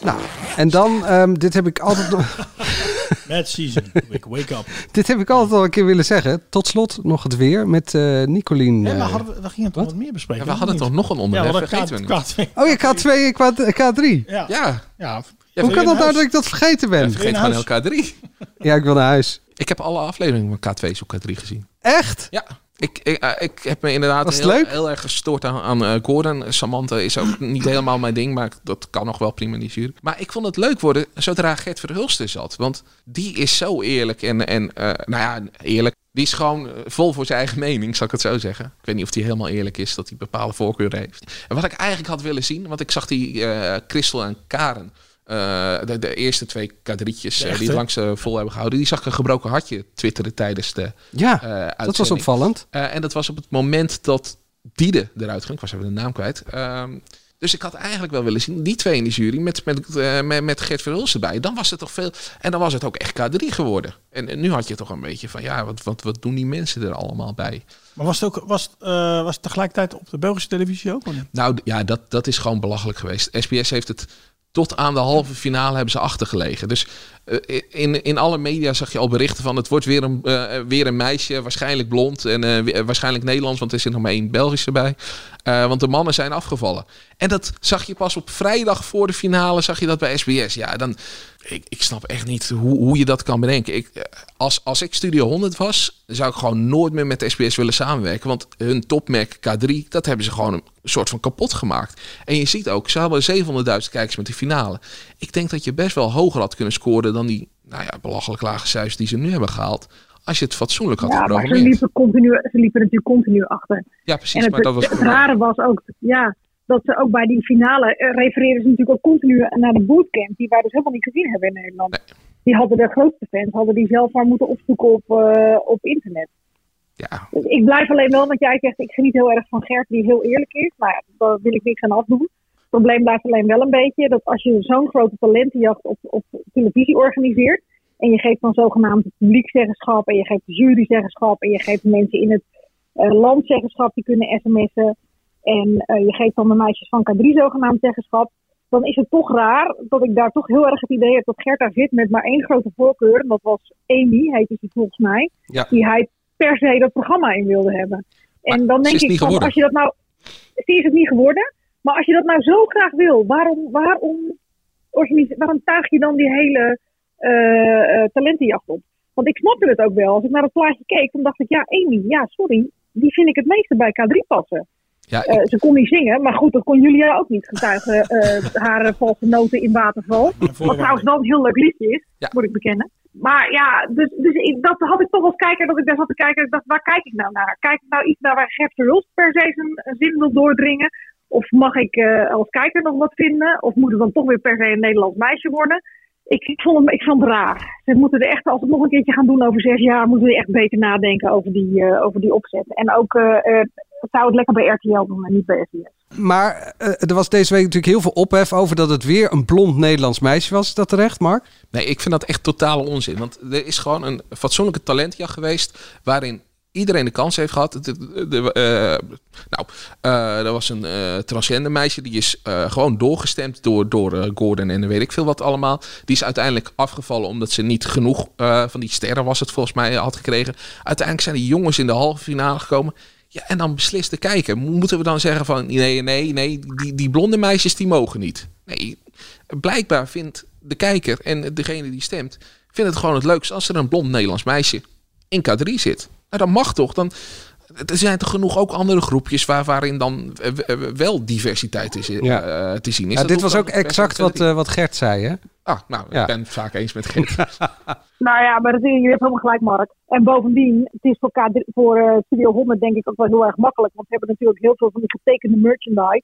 Nou, en dan, ehm, dit heb ik altijd nog, Mad Season, wake, wake up. dit heb ik altijd al een keer willen zeggen. Tot slot nog het weer met eh Nicolien. Hé, maar eh. hadden we, we gingen het nog wat meer Ja, bespreken. we hadden toch nog een onderwerp, vergeten we niet. niet. Oh, je K2 en K- K3. Ja, Ja, ja. Hoe kan in dat nou huis. dat ik dat vergeten ben? vergeet Weer naar gewoon LK3. Ja, ik wil naar huis. Ik heb alle afleveringen van K2 zoek K3 gezien. Echt? Ja, ik, ik, eh, ik heb me inderdaad Was het heel, leuk? heel erg gestoord aan, aan eh, Gordon. Samantha is ook niet helemaal mijn ding, maar dat kan nog wel prima in die jury. Maar ik vond het leuk worden zodra Gert Verhulst er zat. Want die is zo eerlijk en, en eh, nou ja, eerlijk. Die is gewoon eh, vol voor zijn eigen mening, zal ik het zo zeggen. Ik weet niet of die helemaal eerlijk is, dat hij bepaalde voorkeuren heeft. En wat ik eigenlijk had willen zien, want ik zag die eh Christel en Karen... eh, de, de eerste twee kadrietjes eh, die het echte? langs eh, vol hebben gehouden. Die zag ik een gebroken hartje twitteren tijdens de Ja, eh, dat was uitzending. opvallend. Eh, en dat was op het moment dat Diede eruit ging. Ik was even de naam kwijt. Ehm, dus ik had eigenlijk wel willen zien, die twee in de jury met, met, eh, met, met Gert Verhulst erbij. Dan was het toch veel. En dan was het ook echt K3 geworden. En, en nu had je toch een beetje van ja, wat, wat, wat doen die mensen er allemaal bij? Maar was het ook was, het, eh, was het tegelijkertijd op de Belgische televisie ook? of niet? Nou d- ja, dat, dat is gewoon belachelijk geweest. SBS heeft het tot aan de halve finale hebben ze achtergelegen. Dus eh, in, in alle media zag je al berichten van... het wordt weer een, eh, weer een meisje, waarschijnlijk blond... en eh, we- eh, waarschijnlijk Nederlands, want er zit nog maar één Belgische bij. Eh, want de mannen zijn afgevallen. En dat zag je pas op vrijdag voor de finale... zag je dat bij SBS. Ja, dan... Ik, ik snap echt niet hoe, hoe je dat kan bedenken. Ik, eh, als, als ik Studio 100 was, zou ik gewoon nooit meer met SBS willen samenwerken. Want hun topmerk K3, dat hebben ze gewoon een soort van kapot gemaakt. En je ziet ook, ze hadden 700.000 kijkers met die finale. Ik denk dat je best wel hoger had kunnen scoren dan die nou ja, belachelijk lage cijfers die ze nu hebben gehaald. Als je het fatsoenlijk had Ja, maar ze geprogrammeerd. liepen, continu, ze liepen natuurlijk continu achter. Ja, precies. en maar het, dat was het rare was ook ja, dat ze ook bij die finale eh, refereren ze natuurlijk ook continu naar de bootcamp, die wij dus helemaal niet gezien hebben in Nederland. Die hadden de grootste fans, hadden die zelf maar moeten opzoeken op, eh, op internet. Ja, Dus ik blijf alleen wel, want jij zegt, ik geniet heel erg van Gert, die heel eerlijk is. Nou ja, daar wil ik niks aan afdoen. Het probleem blijft alleen wel een beetje dat als je zo'n grote talentenjacht op, op televisie organiseert. en je geeft dan zogenaamd het publiek zeggenschap. en je geeft de jury zeggenschap. en je geeft de mensen in het eh, land zeggenschap, die kunnen sms'en. en eh, je geeft dan de meisjes van K3 zogenaamd zeggenschap. dan is het toch raar dat ik daar toch heel erg het idee heb dat Gert daar zit met maar één grote voorkeur. en dat was Amy, heette ze volgens mij. Ja. die hij per se dat programma in wilde hebben. En dan ze denk is ik, niet van, geworden. als je dat nou. Ze is het niet geworden. Maar als je dat nou zo graag wil, waarom, waarom, organise- waarom tuig je dan die hele eh, eh, talentenjacht op? Want ik snapte het ook wel. Als ik naar dat plaatje keek, dan dacht ik, ja, Amy, ja, sorry. Die vind ik het meeste bij K3 passen. ja, Eh, ze kon niet zingen, maar goed, dat kon Julia ook niet getuigen. eh, haar eh, valse noten in waterval. Wat trouwens wel een heel leuk liedje is, Ja. moet ik bekennen. Maar ja, dus, dus ik, dat had ik toch als kijker, dat ik daar zat te kijken. en Ik dacht, waar kijk ik nou naar? Kijk ik nou iets naar waar Gert Verhulst per se zijn eh, zin wil doordringen? Of mag ik eh, als kijker nog wat vinden? Of moet het dan toch weer per se een Nederlands meisje worden? Ik, ik, vond, hem, ik vond het raar. Ze moeten er echt, als we het nog een keertje gaan doen over zes jaar, moeten we echt beter nadenken over die, eh, over die opzet. En ook eh, eh, zou het lekker bij RTL doen en niet bij SBS. Maar eh, er was deze week natuurlijk heel veel ophef over dat het weer een blond Nederlands meisje was. Is dat terecht, Mark? Nee, ik vind dat echt totale onzin. Want er is gewoon een fatsoenlijke talentjacht geweest. waarin iedereen de kans heeft gehad. De, de- de- eh, nou, eh, er was een eh, transgender meisje. die is eh, gewoon doorgestemd door, door eh, Gordon en weet ik veel wat allemaal. Die is uiteindelijk afgevallen omdat ze niet genoeg eh, van die sterren was het volgens mij eh, had gekregen. Uiteindelijk zijn die jongens in de halve finale gekomen. Ja, en dan beslist de kijker. Mo- Moeten we dan zeggen van nee, nee, nee, die, die blonde meisjes die mogen niet. Nee, blijkbaar vindt de kijker en degene die stemt, vindt het gewoon het leukst als er een blond Nederlands meisje in K3 zit. Nou, dat mag toch? Dan, er zijn toch genoeg ook andere groepjes waar, waarin dan eh, w- eh, wel diversiteit is, eh, eh, te zien is. Ja, Dat hoeft dit was dan ook best wel exact verder wat, eh, wat Gert zei, hè? Ah, nou, ik ben het vaak eens met Gert. Nou ja, maar dat, je hebt helemaal gelijk, Mark. En bovendien, het is voor, K3 voor eh, Studio 100 denk ik ook wel heel erg makkelijk. Want we hebben natuurlijk heel veel van die getekende merchandise.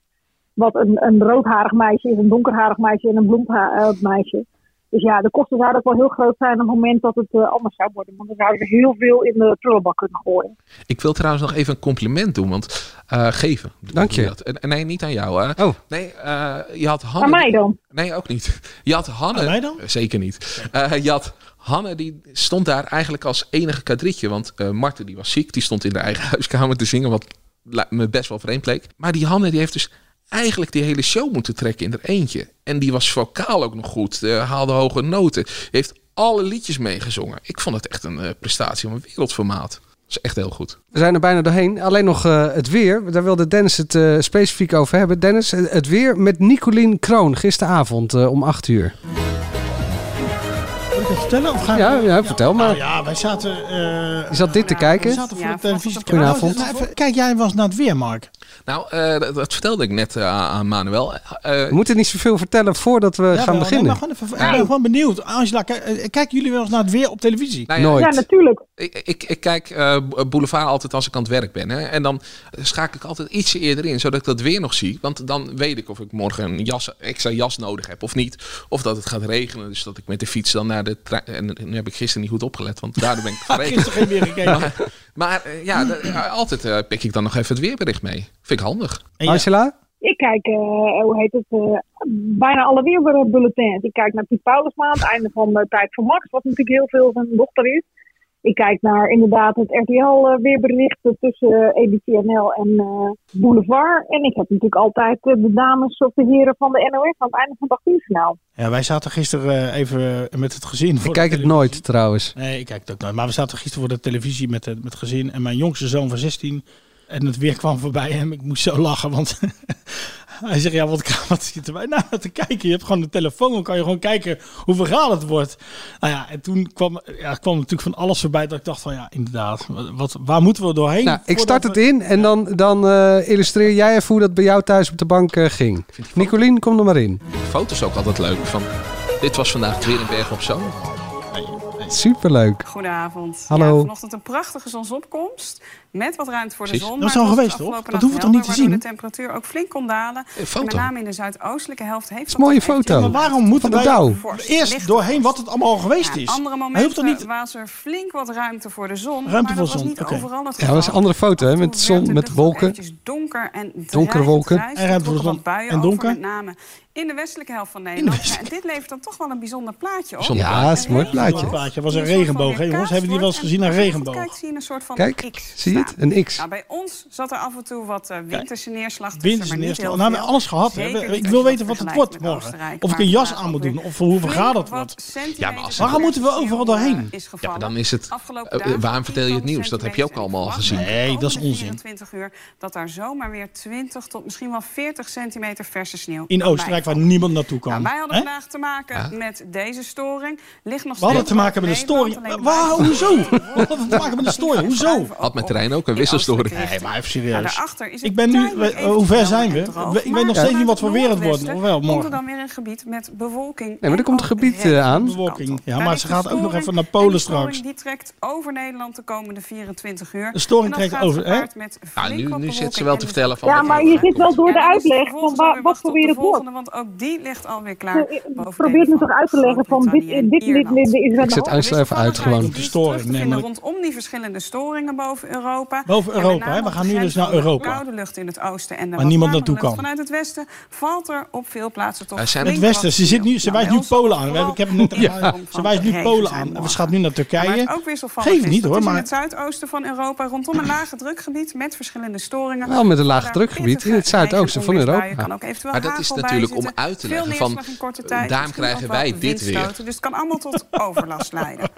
Wat een, een roodharig meisje is, een donkerharig meisje en een blondharig meisje. Dus ja, de kosten zouden ook wel heel groot zijn op het moment dat het eh, anders zou worden. Want dan zouden ze heel veel in de prullenbak kunnen gooien. Ik wil trouwens nog even een compliment doen, want eh, geven. Dank je. Dat. En- en Nee, niet aan jou. Hè. Oh. Nee, eh, je had Hanne. Aan mij dan? Nee, ook niet. Je had Hanne. Aan mij dan? Zeker niet. Eh, je had Hanne, die stond daar eigenlijk als enige kadrietje. Want eh Marten, die was ziek. Die stond in haar eigen huiskamer te zingen, wat la- me best wel vreemd leek. Maar die Hanne, die heeft dus eigenlijk die hele show moeten trekken in haar eentje. En die was vocaal ook nog goed. eh, haalde hoge noten. Die heeft alle liedjes meegezongen. Ik vond het echt een eh, prestatie van een wereldformaat. Dat is echt heel goed. We zijn er bijna doorheen. Alleen nog eh, het weer. Daar wilde Dennis het eh, specifiek over hebben. Dennis, eh, het weer met Nicolien Kroon gisteravond eh, om 8 uur. Moet ik dat vertellen? Of gaan Ja, ja, vertel maar. Nou ja, wij zaten... eh, Je zat dit te we kijken. zaten voor de televisie. te Goedenavond. kijken. Nou, even- Kijk, jij was naar het weer, Mark. Nou, eh, dat, dat vertelde ik net eh, aan Manuel. Eh, We moeten niet zoveel vertellen voordat we gaan Jawel, nee, beginnen. maar gewoon even- ik ben gewoon benieuwd. Angela, kijk- eh, kijken jullie wel eens naar het weer op televisie? Nou ja, Nooit. Ja, natuurlijk. ik, ik, ik kijk eh, Boulevard altijd als ik aan het werk ben. Hè? En dan schakel ik altijd ietsje eerder in, zodat ik dat weer nog zie. Want dan weet ik of ik morgen een jas, extra jas nodig heb of niet. Of dat het gaat regenen, dus dat ik met de fiets dan naar de trein... En nu heb ik gisteren niet goed opgelet, want daardoor ben ik vergeten. Gisteren geen weer gekeken. maar maar, eh, ja, d- ja, altijd eh, pik ik dan nog even het weerbericht mee. Vind ik handig. Angela? Ik kijk, eh, hoe heet het, eh, bijna alle weerbulletins. Ik kijk naar Piet Paulusma, het einde van de Tijd voor Max, wat natuurlijk heel veel zijn dochter is. Ik kijk naar inderdaad het RTL-weerberichten eh, tussen EBCNL en eh, Boulevard. En ik heb natuurlijk altijd eh, de dames of de heren van de NOS aan het einde van het 8 uur journaal. Ja, wij zaten gisteren eh, even met het gezin. Voor Ik de kijk het televisie. nooit trouwens. Nee, ik kijk het ook nooit. Maar we zaten gisteren voor de televisie met, het- met het gezin. En mijn jongste zoon van 16. En het weer kwam voorbij hem. Ik moest zo lachen, want hij zegt, ja, wat, wat zitten wij nou te kijken? Je hebt gewoon de telefoon, dan kan je gewoon kijken hoeveel verhaal het wordt. Nou ja, en toen kwam, ja, kwam natuurlijk van alles voorbij dat ik dacht van, ja, inderdaad, wat- wat, waar moeten we doorheen? Nou, ik voordat start we- het in en dan, dan eh, illustreer jij even hoe dat bij jou thuis op de bank eh, ging. Nicolien, kom er maar in. Foto's ook altijd leuk. Van, dit was vandaag het weer in Bergen op Zoom. Superleuk. Goedenavond. Hallo. Ja, vanochtend een prachtige zonsopkomst. Met wat ruimte voor de Precies. zon. Dat is maar al het was geweest, de toch? afgelopen Dat nacht hoeven we toch niet te helder, zien? waardoor de temperatuur ook flink kon dalen. foto. En Met name in de zuidoostelijke helft heeft een mooie dat eventueel foto. wat Maar Waarom van moeten de wij dauw? eerst doorheen wat het allemaal al Ja, geweest aan is? andere Hij hoeft momenten er niet... was er flink wat ruimte voor de zon. Ruimte maar dat voor was zon, niet oké. overal het Ja, geval. dat is een andere foto, hè? Met zon, met wolken. Eventjes donker en Donkere wolken. En En ruimte voor wat zon. buien En over, donker. met name in de westelijke helft van Nederland. Ja, en dit levert dan toch wel een bijzonder plaatje op. Ja, is een mooi plaatje. plaatje was een regenboog, hè jongens? Hebben die wel eens gezien, een regenboog? Kijk, zie je een soort van Kijk, X. zie je het? Een X. Nou, bij ons zat er af en toe wat eh, winterse neerslag tussen, maar Winterse niet neerslag. heel Nou, we hebben veel. alles gehad. Zeker Hè? niet Ik als wil je dat weten wat het vergelijkt wordt met morgen. Oostenrijk, Of ik een waar jas vandaag aan moet ook doen. Of hoe flink vergaar dat wat wordt. centimeters maar als- Waarom moeten we overal doorheen? Ja, maar dan is het. eh, waarom vertel je het nieuws? Dat heb je ook allemaal al gezien. Nee, dat is onzin. 24 uur dat daar zomaar weer 20 tot misschien wel 40 centimeter verse sneeuw In kan Oostenrijk, waar niemand naartoe nou, kan. wij hadden Hè? vandaag te maken Ja. met deze storing. Ligt nog We hadden steeds te maken met een in Nederland, storing. alleen Wauw, blijft- hoezo? We hadden te maken met een storing. Hoezo? Had Oh, mijn terrein ook een wisselstoring. Nee, maar even Nou, serieus. daarachter is het Ik ben nu, tijdelijk we- hoe ver zijn we? droog, We- maar Ik weet nog steeds vanuit niet wat voor weer het wordt. noordwesten Ofwel, Komt er morgen. dan weer een gebied met bewolking. Nee, maar er komt een gebied eh, aan. Bewolking. Ja, Daar maar ligt ze de gaat ook nog storing. even naar En Polen die storing straks. Die trekt over Nederland de komende 24 uur. De storing En dat trekt gaat over, hè? gepaard met Nou, nu, flink wat nu zit ze bewolking wel en te vertellen van. Ja, wat- maar je zit wel door de uitleg van wa- wat voor weer het wordt. Want ook die ligt alweer klaar. boven Probeert me Nederland, toch uit te leggen van dit, dit, dit, dit, dit is Ik zet Uitsel even uit gewoon. Die is terug te vinden rondom die verschillende storingen boven Europa. Boven En met Europa, name hè? We op gaan de nu grens dus naar van de Europa. Koude lucht in het oosten en de Waar wat niemand warme naartoe lucht kan. Vanuit het westen valt er op veel plaatsen toch. Het flink het wat Westen. sneeuw. Ze, zit nu, ze Nou, wijst bij nu ons Polen aan. We hebben- Ik heb hem net vooral ja. om Ze van wijst nu regen Polen zijn aan. En morgen. Ze gaat nu naar Maar het Turkije. ook wisselvallig Geef is. niet Dat hoor, is in maar het zuidoosten van Europa rondom een lage drukgebied met verschillende storingen. Wel met een laag Daar drukgebied in het pittige zuidoosten van Europa. onweersbuien, kan ook eventueel Maar dat is hagel natuurlijk bij om zitten. uit te Veel leggen van, neerslag in korte tijd, daarom misschien krijgen ook wel wij dit weer. windstoten. Dus het kan allemaal tot overlast leiden.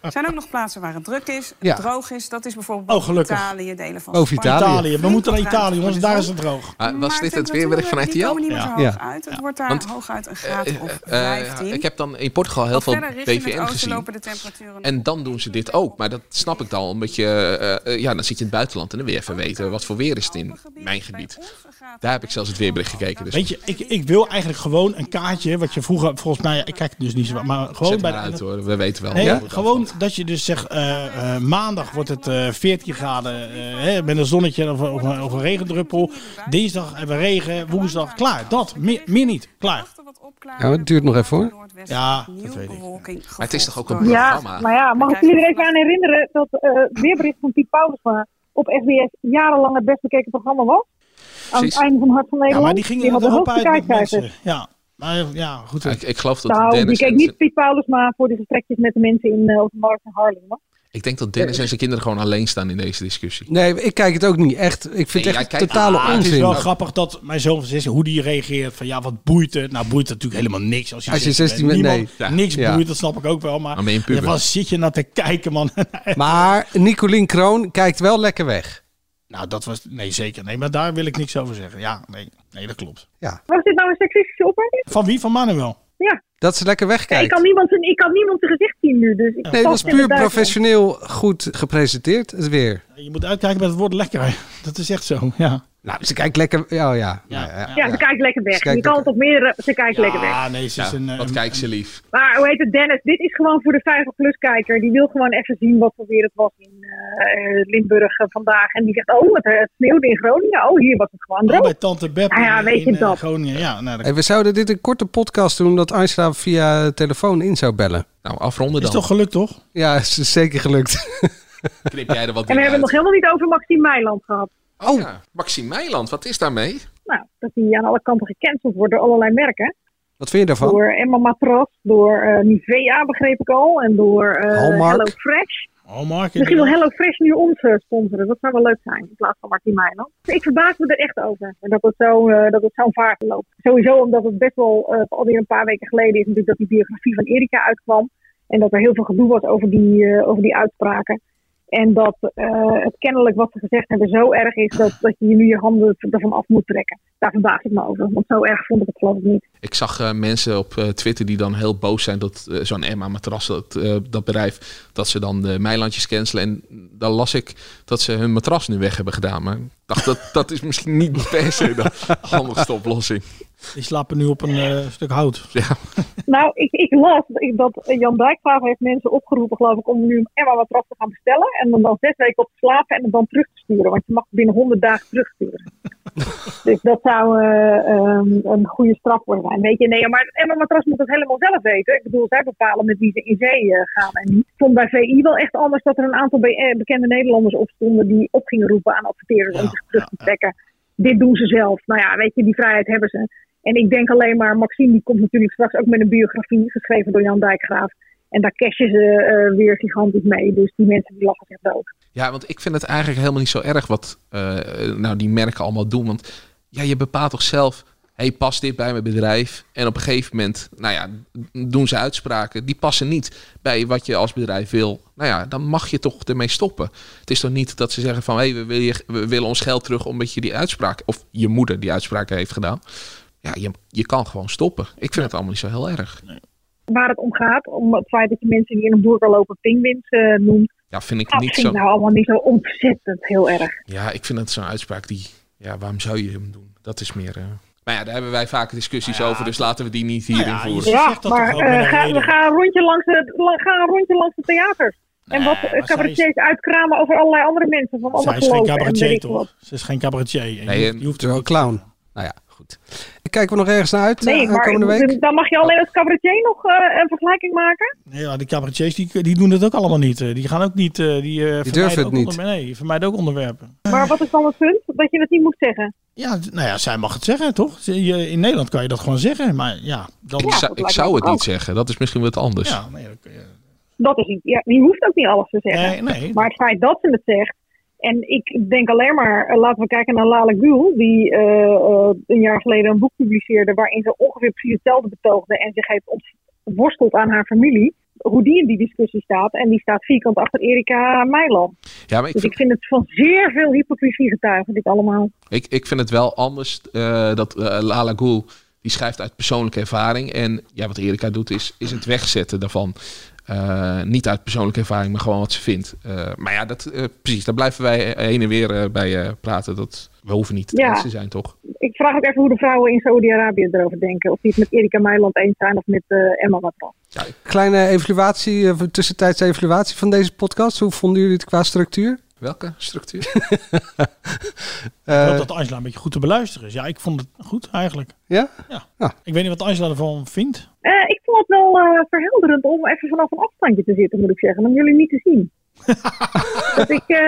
Er zijn ook nog plaatsen waar het druk is, Ja. droog is. Dat is bijvoorbeeld Oh, gelukkig. Italië, delen van Boven Spanje. Italië. We moeten naar Italië, jongens. Daar is het droog. Maar Ah, was dit het temperaturen, weerwerk van die RTL? komen niet meer zo Ja. hoog Ja. uit. Het wordt daar Want, hooguit een graad Eh, of eh, 15. ik heb dan in Portugal heel Wat veel verder richting het BVN oosten gezien. lopen de temperaturen En dan doen ze dit ook. Maar dat snap ik dan. Omdat je, eh, eh, ja, dan zit je in het buitenland en dan weer even weten. Wat voor weer is het in mijn gebied? Daar heb ik zelfs het weerbericht gekeken. Dus Weet je, ik, ik wil eigenlijk gewoon een kaartje, wat je vroeger, volgens mij, ik kijk het dus niet zo, maar gewoon zet bij maar de, uit hoor. We weten wel. Nee, Ja? gewoon dat je dus zegt, eh, eh, maandag wordt het eh 14 graden eh, hè, met een zonnetje of, of, een- of een regendruppel. Dinsdag hebben we regen, woensdag, klaar. Dat, meer, meer niet, klaar. Ja, maar het duurt nog even hoor. Ja, dat weet ik. Maar het is toch ook een Ja, programma? maar ja, mag ik jullie er even aan herinneren dat eh weerbericht van Piet Paulusma op SBS jarenlang het best bekeken programma was? Aan het Precies. einde van Hart van Ja, Nederland. maar die gingen had het de Europa hoogste uit met kijkcijfers. mensen. Ja, maar, ja goed. Ik, ik geloof dat Nou, die Dennis. keek En, niet Piet Paulusma voor die gesprekjes met de mensen in eh, op de markt in Harlem. hoor. ik denk dat Dennis en zijn kinderen gewoon alleen staan in deze discussie. Nee, ik kijk het ook niet echt. Ik vind Nee, het echt jij kijkt- totale Ah, onzin. Het is wel grappig dat mijn zoon van 16, hoe die reageert van ja, wat boeit het? Nou, boeit het natuurlijk helemaal niks. Als je, Als je 16 bent. bent, Niemand, nee. Ja. Niks Ja. boeit, dat snap ik ook wel. Maar Dan ben je een puber. ja, wat zit je nou te kijken, man? Maar Nicolien Kroon kijkt wel lekker weg. nou, dat was, nee zeker, nee, maar daar wil ik niks over zeggen. Ja, nee, nee dat klopt. Ja. Was dit nou een seksistische opmerking? Van wie? Van Manuel? Ja, Dat ze lekker Ja, ik, wegkijkt. kan niemand, zijn- ik kan niemand zijn gezicht zien nu. Dus ik Nee, dat was val in puur de duivel. professioneel goed gepresenteerd, het weer. Je moet uitkijken met het woord lekker. Dat is echt zo, ja. Nou, ze kijkt lekker... Ja, ja. ja, Ja, ze kijkt lekker weg. Ze kijkt je kan het op meerdere... Ze kijkt lekker weg. Ah, nee, ze is een... Wat kijkt ze lief? Maar hoe heet het, Dennis? Dit is gewoon voor de 50-plus kijker. Die wil gewoon even zien wat voor weer het was in eh, eh, Limburg eh, vandaag. En die zegt, oh, het, eh, sneeuwde in Groningen. Oh, hier was het gewoon Oh, droog. bij Tante Beb Nou ja, in- weet je in eh, dat. Groningen. Ja, nou, dat Hey, we zouden dit een korte podcast doen dat Angela via telefoon in zou bellen. Nou, afronden is dan. toch gelukt, toch? Ja, is zeker gelukt. Knip jij er wat en we dingen hebben het uit? nog helemaal niet over Maxime Meiland gehad. Oh, ja. Maxime Meiland, wat is daarmee? Nou, dat hij aan alle kanten gecanceld wordt door allerlei merken. Wat vind je daarvan? Door Emma Matras, door eh, Nivea begreep ik al. En door eh Hallmark. Hello Fresh. Oh, Mark. Misschien wil inderdaad. Hello Fresh nu ons eh, sponsoren. Dat zou wel leuk zijn in plaats van Martin Meiland. Ik verbaas me er echt over dat het zo, eh, dat het zo'n vaart loopt. Sowieso omdat het best wel eh, alweer een paar weken geleden is natuurlijk dat die biografie van Erika uitkwam. En dat er heel veel gedoe was over die, eh, over die uitspraken. En dat eh, het kennelijk wat ze gezegd hebben zo erg is dat, dat je je nu je handen ervan af moet trekken. Daar verbaas ik me over, want zo erg vond ik het geloof ik niet. Ik zag eh, mensen op eh, Twitter die dan heel boos zijn dat eh, zo'n Emma matras, dat, eh, dat bedrijf, dat ze dan de Meilandjes cancelen. En dan las ik dat ze hun matras nu weg hebben gedaan. Maar ik dacht, dat, dat is misschien niet per se de handigste oplossing. Die slapen nu op een eh, stuk hout. Ja. Nou, ik, ik las ik- dat eh, Jan Dijkgraaf heeft mensen opgeroepen, geloof ik, om nu een Emma matras te gaan bestellen. En dan, dan zes weken op te slapen en het dan terug te sturen. Want je mag het binnen 100 dagen terugsturen. dus dat zou eh, ehm, een goede straf voor zijn. Weet je, nee, maar Emma matras moet dat helemaal zelf weten. Ik bedoel, zij bepalen met wie ze in zee eh, gaan en niet. Ik vond bij VI wel echt anders dat er een aantal be- eh, bekende Nederlanders opstonden die op gingen roepen aan adverteerders om zich terug te trekken. Dit doen ze zelf. Nou ja, weet je, die vrijheid hebben ze. En ik denk alleen maar, Maxime die komt natuurlijk straks ook met een biografie geschreven door Jan Dijkgraaf. En daar cashen ze eh, weer gigantisch mee. Dus die mensen die lachen zich dood. Ja, want ik vind het eigenlijk helemaal niet zo erg wat eh, nou die merken allemaal doen. Want ja, je bepaalt toch zelf, hey, past dit bij mijn bedrijf? En op een gegeven moment, nou ja, doen ze uitspraken die passen niet bij wat je als bedrijf wil. Nou ja, dan mag je toch ermee stoppen. Het is toch niet dat ze zeggen van, hé, hey, we, wil je- we willen ons geld terug omdat je die uitspraak, of je moeder die uitspraak heeft gedaan. Ja, je, je kan gewoon stoppen. Ik vind het allemaal niet zo heel erg. Waar het om gaat, om het feit dat je mensen die in een boerka lopen pinguïns eh, noemt. Ja, vind ik Dat niet vind zo. ik nou allemaal niet zo ontzettend heel erg. Ja, ik vind het zo'n uitspraak die. Ja, waarom zou je hem doen? Dat is meer. eh, Maar ja, daar hebben wij vaker discussies over, dus laten we die niet hierin ja, je voeren. zegt- Ja, dat toch maar ook met eh, een ga, reden? ga, een rondje langs de, la- ga een rondje langs de theaters. en wat Nou, eh, maar zij cabaretiers uitkramen over allerlei andere mensen. Van Zij allemaal is geen geloven en weet cabaretier, ik wat. toch? Ze is geen cabaretier. En Nee, je en- hoeft- je hoeft Terwijl clown. Nou ja, goed. Kijken we nog ergens naar uit Nee, eh, maar komende ik- week? dan mag je alleen als cabaretier nog eh, een vergelijking maken. Nee, ja, die cabaretiers die, die doen dat ook allemaal niet. eh. Die gaan ook niet. eh, die eh, vermijden durven het ook niet. onder- nee, die vermijden ook onderwerpen. Maar wat is dan het punt? Dat je het niet moet zeggen. Ja, nou ja, zij mag het zeggen, toch? Ze- je- In Nederland kan je dat gewoon zeggen. Maar ja, dan. Ik, zou, ik zou het niet zeggen. Dat is misschien wat anders. Ja, Dat is niet. Ja, je hoeft ook niet alles te zeggen. Nee, nee. Maar het feit dat ze het zegt. En ik denk alleen maar, eh, laten we kijken naar Lale Gül, die eh, eh, een jaar geleden een boek publiceerde waarin ze ongeveer precies hetzelfde betoogde en zich heeft ontworsteld aan haar familie. Hoe die in die discussie staat. En die staat vierkant achter Erika Meiland. Ja, maar ik dus vind- ik vind het van zeer veel hypocrisie getuigen, dit allemaal. Ik, ik vind het wel anders eh, dat eh, Lala Ghoul, die schrijft uit persoonlijke ervaring. En ja, wat Erika doet is, is het wegzetten daarvan. Eh, niet uit persoonlijke ervaring, maar gewoon wat ze vindt. Eh, maar ja, dat, eh, precies, daar blijven wij heen en weer eh, bij eh, praten. Dat, we hoeven niet te Ja. eens te zijn, toch? Ik vraag ook even hoe de vrouwen in Saudi-Arabië erover denken. Of die het met Erika Meiland eens zijn of met eh, Emma Watson. Kleine evaluatie, eh, tussentijdse evaluatie van deze podcast. Hoe vonden jullie het qua structuur? Welke structuur? Ik Eh, hoop dat Angela een beetje goed te beluisteren is. Ja, ik vond het goed eigenlijk. Ja? Ja. Ik weet niet wat Angela ervan vindt. Eh, ik vond het wel eh, verhelderend om even vanaf een afstandje te zitten, moet ik zeggen. Om jullie niet te zien. dat ik, eh,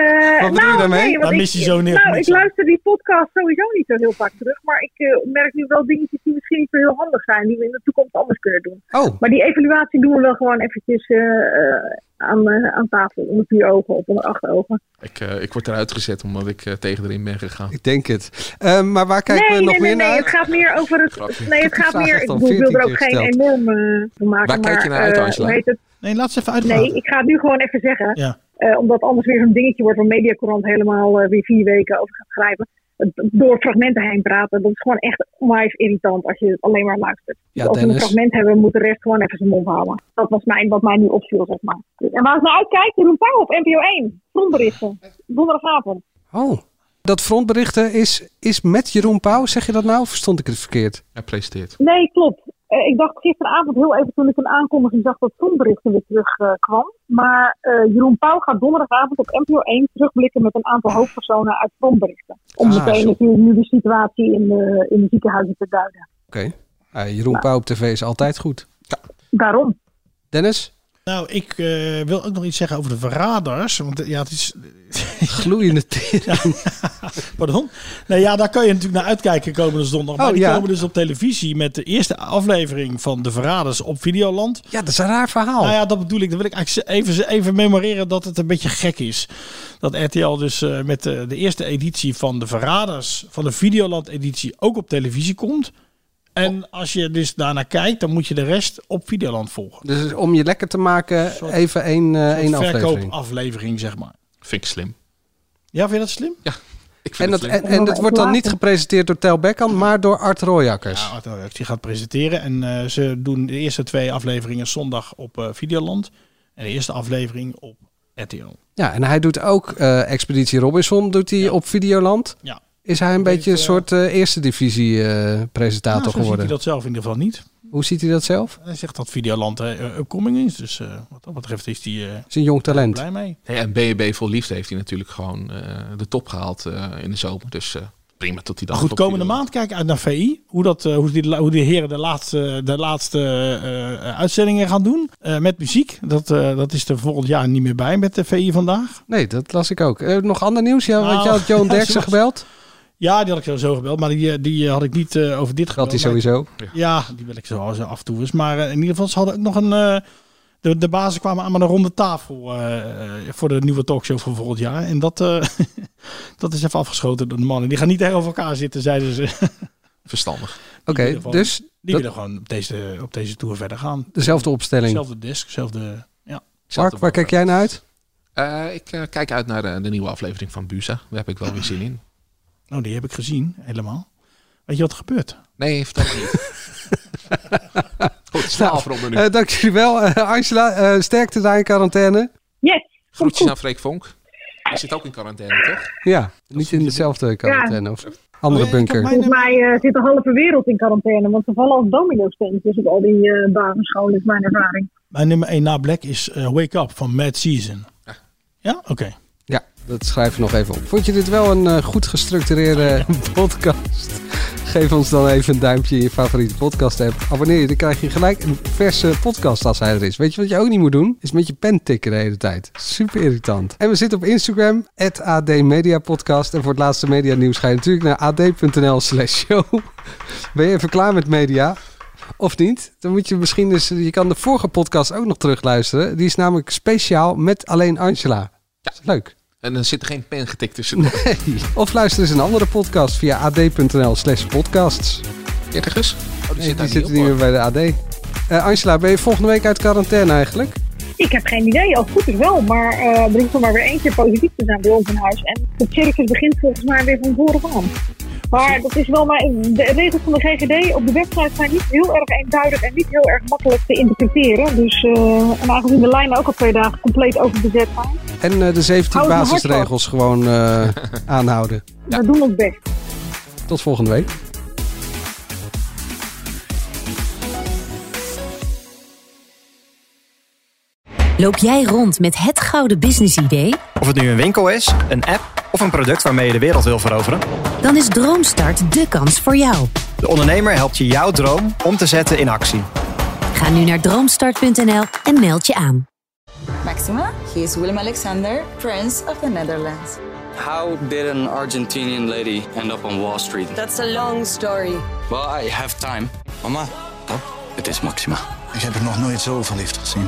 Wat bedoel je nou, daarmee? nee, want Dan ik- mis je zo niks. Nou, ik luister die podcast sowieso niet zo heel vaak terug. Maar ik eh, merk nu wel dingetjes die misschien niet zo heel handig zijn. Die we in de toekomst anders kunnen doen. Oh. Maar die evaluatie doen we wel gewoon eventjes eh, eh, aan, eh, aan tafel. Onder vier ogen of onder acht ogen. Ik, eh, ik word eruit gezet omdat ik eh, tegen erin ben gegaan. Ik denk het. Eh, maar waar kijken nee, we nog nee, meer nee, naar nee, het gaat meer over het. Grapje. Nee, het Die gaat vraag meer. heeft Ik al bedoel, ik wil er 14 ook geen keer enorm eh, van maken. Waar kijk je maar, naar uit, eh, Angela? hoe heet het? Nee, laat ze even uitpraten. Nee, ik ga het nu gewoon even zeggen. Ja. Eh, omdat anders weer zo'n dingetje wordt waar Mediacorant helemaal eh, weer vier weken over gaat schrijven. Eh, Door fragmenten heen praten. Dat is gewoon echt onwijs irritant als je het alleen maar luistert. Ja, Dus als we een Dennis. fragment hebben, moet de rest gewoon even zijn mond houden. Dat was mijn, wat mij nu opviel, zeg maar. En waar ik naar uitkijk, Jeroen Pauw op NPO 1. Frontberichten. Donderdagavond. Oh, dat frontberichten is, is met Jeroen Pauw. Zeg je dat nou? Of verstond ik het verkeerd? Hij presenteert. Nee, klopt. Eh, ik dacht gisteravond heel even toen ik een aankondiging zag dat Zonberichten weer terugkwam. kwam. maar eh, Jeroen Pauw gaat donderdagavond op NPO 1 terugblikken met een aantal hoofdpersonen uit Zonberichten. Om Ah, meteen zo. natuurlijk nu de situatie in de, in de ziekenhuizen te duiden. Oké. Eh, Nou. Jeroen Pauw op tv is altijd goed. Daarom. Dennis? Nou, ik eh, wil ook nog iets zeggen over de verraders. Want eh, ja, het is... Gloeiende tering. Pardon? Nou ja, daar kan je natuurlijk naar uitkijken komende zondag. Maar Oh, die ja. komen dus op televisie met de eerste aflevering van De Verraders op Videoland. Ja, dat is een raar verhaal. Nou ja, dat bedoel ik. Dan wil ik eigenlijk even, even memoreren dat het een beetje gek is. Dat RTL dus eh, met eh, de eerste editie van De Verraders, van de Videoland editie, ook op televisie komt. Oh. En als je dus daarnaar kijkt, dan moet je de rest op Videoland volgen. Dus om je lekker te maken, even één, eh één Een aflevering. verkoopaflevering, zeg maar. Vind ik slim. Ja, vind je dat slim? Ja. En dat, en, slim. en dat wordt dan niet gepresenteerd door Tel Beckham, maar door Art Royakkers. Ja, Art Royakkers, die gaat presenteren. En eh, ze doen de eerste twee afleveringen zondag op eh, Videoland. En de eerste aflevering op RTL. Ja, en hij doet ook eh, Expeditie Robinson doet hij op Videoland. Ja. Is hij een beetje een soort eh, eerste divisie eh, Nou, presentator zo ziet geworden? hij dat zelf in ieder geval niet. Hoe ziet hij dat zelf? Hij zegt dat Videoland eh, upcoming is. Dus eh, wat dat betreft is die eh, Is een jong talent. blij mee. Nee, en BB Vol Liefde heeft hij natuurlijk gewoon eh, de top gehaald eh, in de zomer. Dus eh, prima tot hij dan... Maar goed, op die- komende maand kijk uit naar VI. Hoe, dat, eh, hoe, die, hoe die heren de laatste, de laatste eh, uitzendingen gaan doen. Eh, met muziek. Dat, eh, dat is er volgend jaar niet meer bij met de VI vandaag. Nee, dat las ik ook. Eh, nog ander nieuws? Ja, want Nou, je had Johan ja, Derksen zoals- gebeld. Ja, die had ik zo gebeld. Maar die, eh, die had ik niet eh, over dit gebeld. Dat hij Maar ik- sowieso. Ja, die wil ik zo zo af en toe eens. Maar eh, in ieder geval, ze hadden ook nog een... eh, de, de bazen kwamen aan met een ronde tafel eh, eh, voor de nieuwe talkshow van volgend jaar. En dat, eh, dat is even afgeschoten door de mannen. Die gaan niet tegenover elkaar zitten, zeiden ze. Die Verstandig. Oké, willen gewoon- dus Die dat- willen gewoon op deze, op deze tour verder gaan. dezelfde opstelling. Zelfde desk, zelfde... Ja. Mark, waar kijk jij naar uit? Eh, ik eh, kijk uit naar eh, de nieuwe aflevering van Busa. Daar heb ik wel weer zin in. Nou, die heb ik gezien, helemaal. Weet je wat er gebeurt? Nee, vertel me niet. Goed, snel afronden nu. Eh, dank jullie wel, eh, Angela. eh, sterkte daar in quarantaine. Yes! komt Groetjes goed. aan Freek Vonk. Hij zit ook in quarantaine, toch? Ja, niet in dezelfde quarantaine of Oh, andere ja, ik heb bunker. mijn- Volgens mij eh, zit de halve wereld in quarantaine. Want ze vallen als domino-steentjes op al die eh basisscholen, is mijn ervaring. Mijn nummer 1 na Black is eh, Wake Up van Mad Season. Ja? Oké. Ja, dat schrijf je nog even op. Vond je dit wel een eh, goed gestructureerde podcast? Geef ons dan even een duimpje in je favoriete podcast app. Abonneer je, dan krijg je gelijk een verse podcast als hij er is. Weet je wat je ook niet moet doen? Is met je pen tikken de hele tijd. Super irritant. En we zitten op Instagram, @admediapodcast. En voor het laatste media nieuws ga je natuurlijk naar ad.nl slash show. Ben je even klaar met media? Of niet? Dan moet je misschien dus... Je kan de vorige podcast ook nog terugluisteren. Die is namelijk speciaal met alleen Angela. Leuk. En dan zit er geen pen getikt tussen. Nee. Of luister eens een andere podcast via ad.nl slash podcasts. Dertigers? Oh, die Nee, zit daar die niet op, zitten niet meer bij de AD. Eh, Angela, ben je volgende week uit quarantaine eigenlijk? Ik heb geen idee, als het goed is wel. Maar eh er hoeft er maar weer één keer positief te zijn bij ons in huis. En het circus begint volgens mij weer van voren aan. Maar dat is wel maar, de regels van de GGD op de website zijn niet heel erg eenduidig en niet heel erg makkelijk te interpreteren. Dus, eh, en aangezien de lijnen ook al twee dagen compleet overbezet zijn, En eh, de 17 Hou het maar hard basisregels gewoon eh, aanhouden. we doen ons best. Tot volgende week. Loop jij rond met het gouden businessidee? Of het nu een winkel is, een app of een product waarmee je de wereld wil veroveren. Dan is Droomstart de kans voor jou. De ondernemer helpt je jouw droom om te zetten in actie. Ga nu naar droomstart.nl en meld je aan. Maxima, he is Willem Alexander, Prince of the Netherlands. How did an Argentinian lady end up on Wall Street? That's a long story. Well, I have time. Mama, pap, het is Maxima. Ik heb er nog nooit zo verliefd gezien.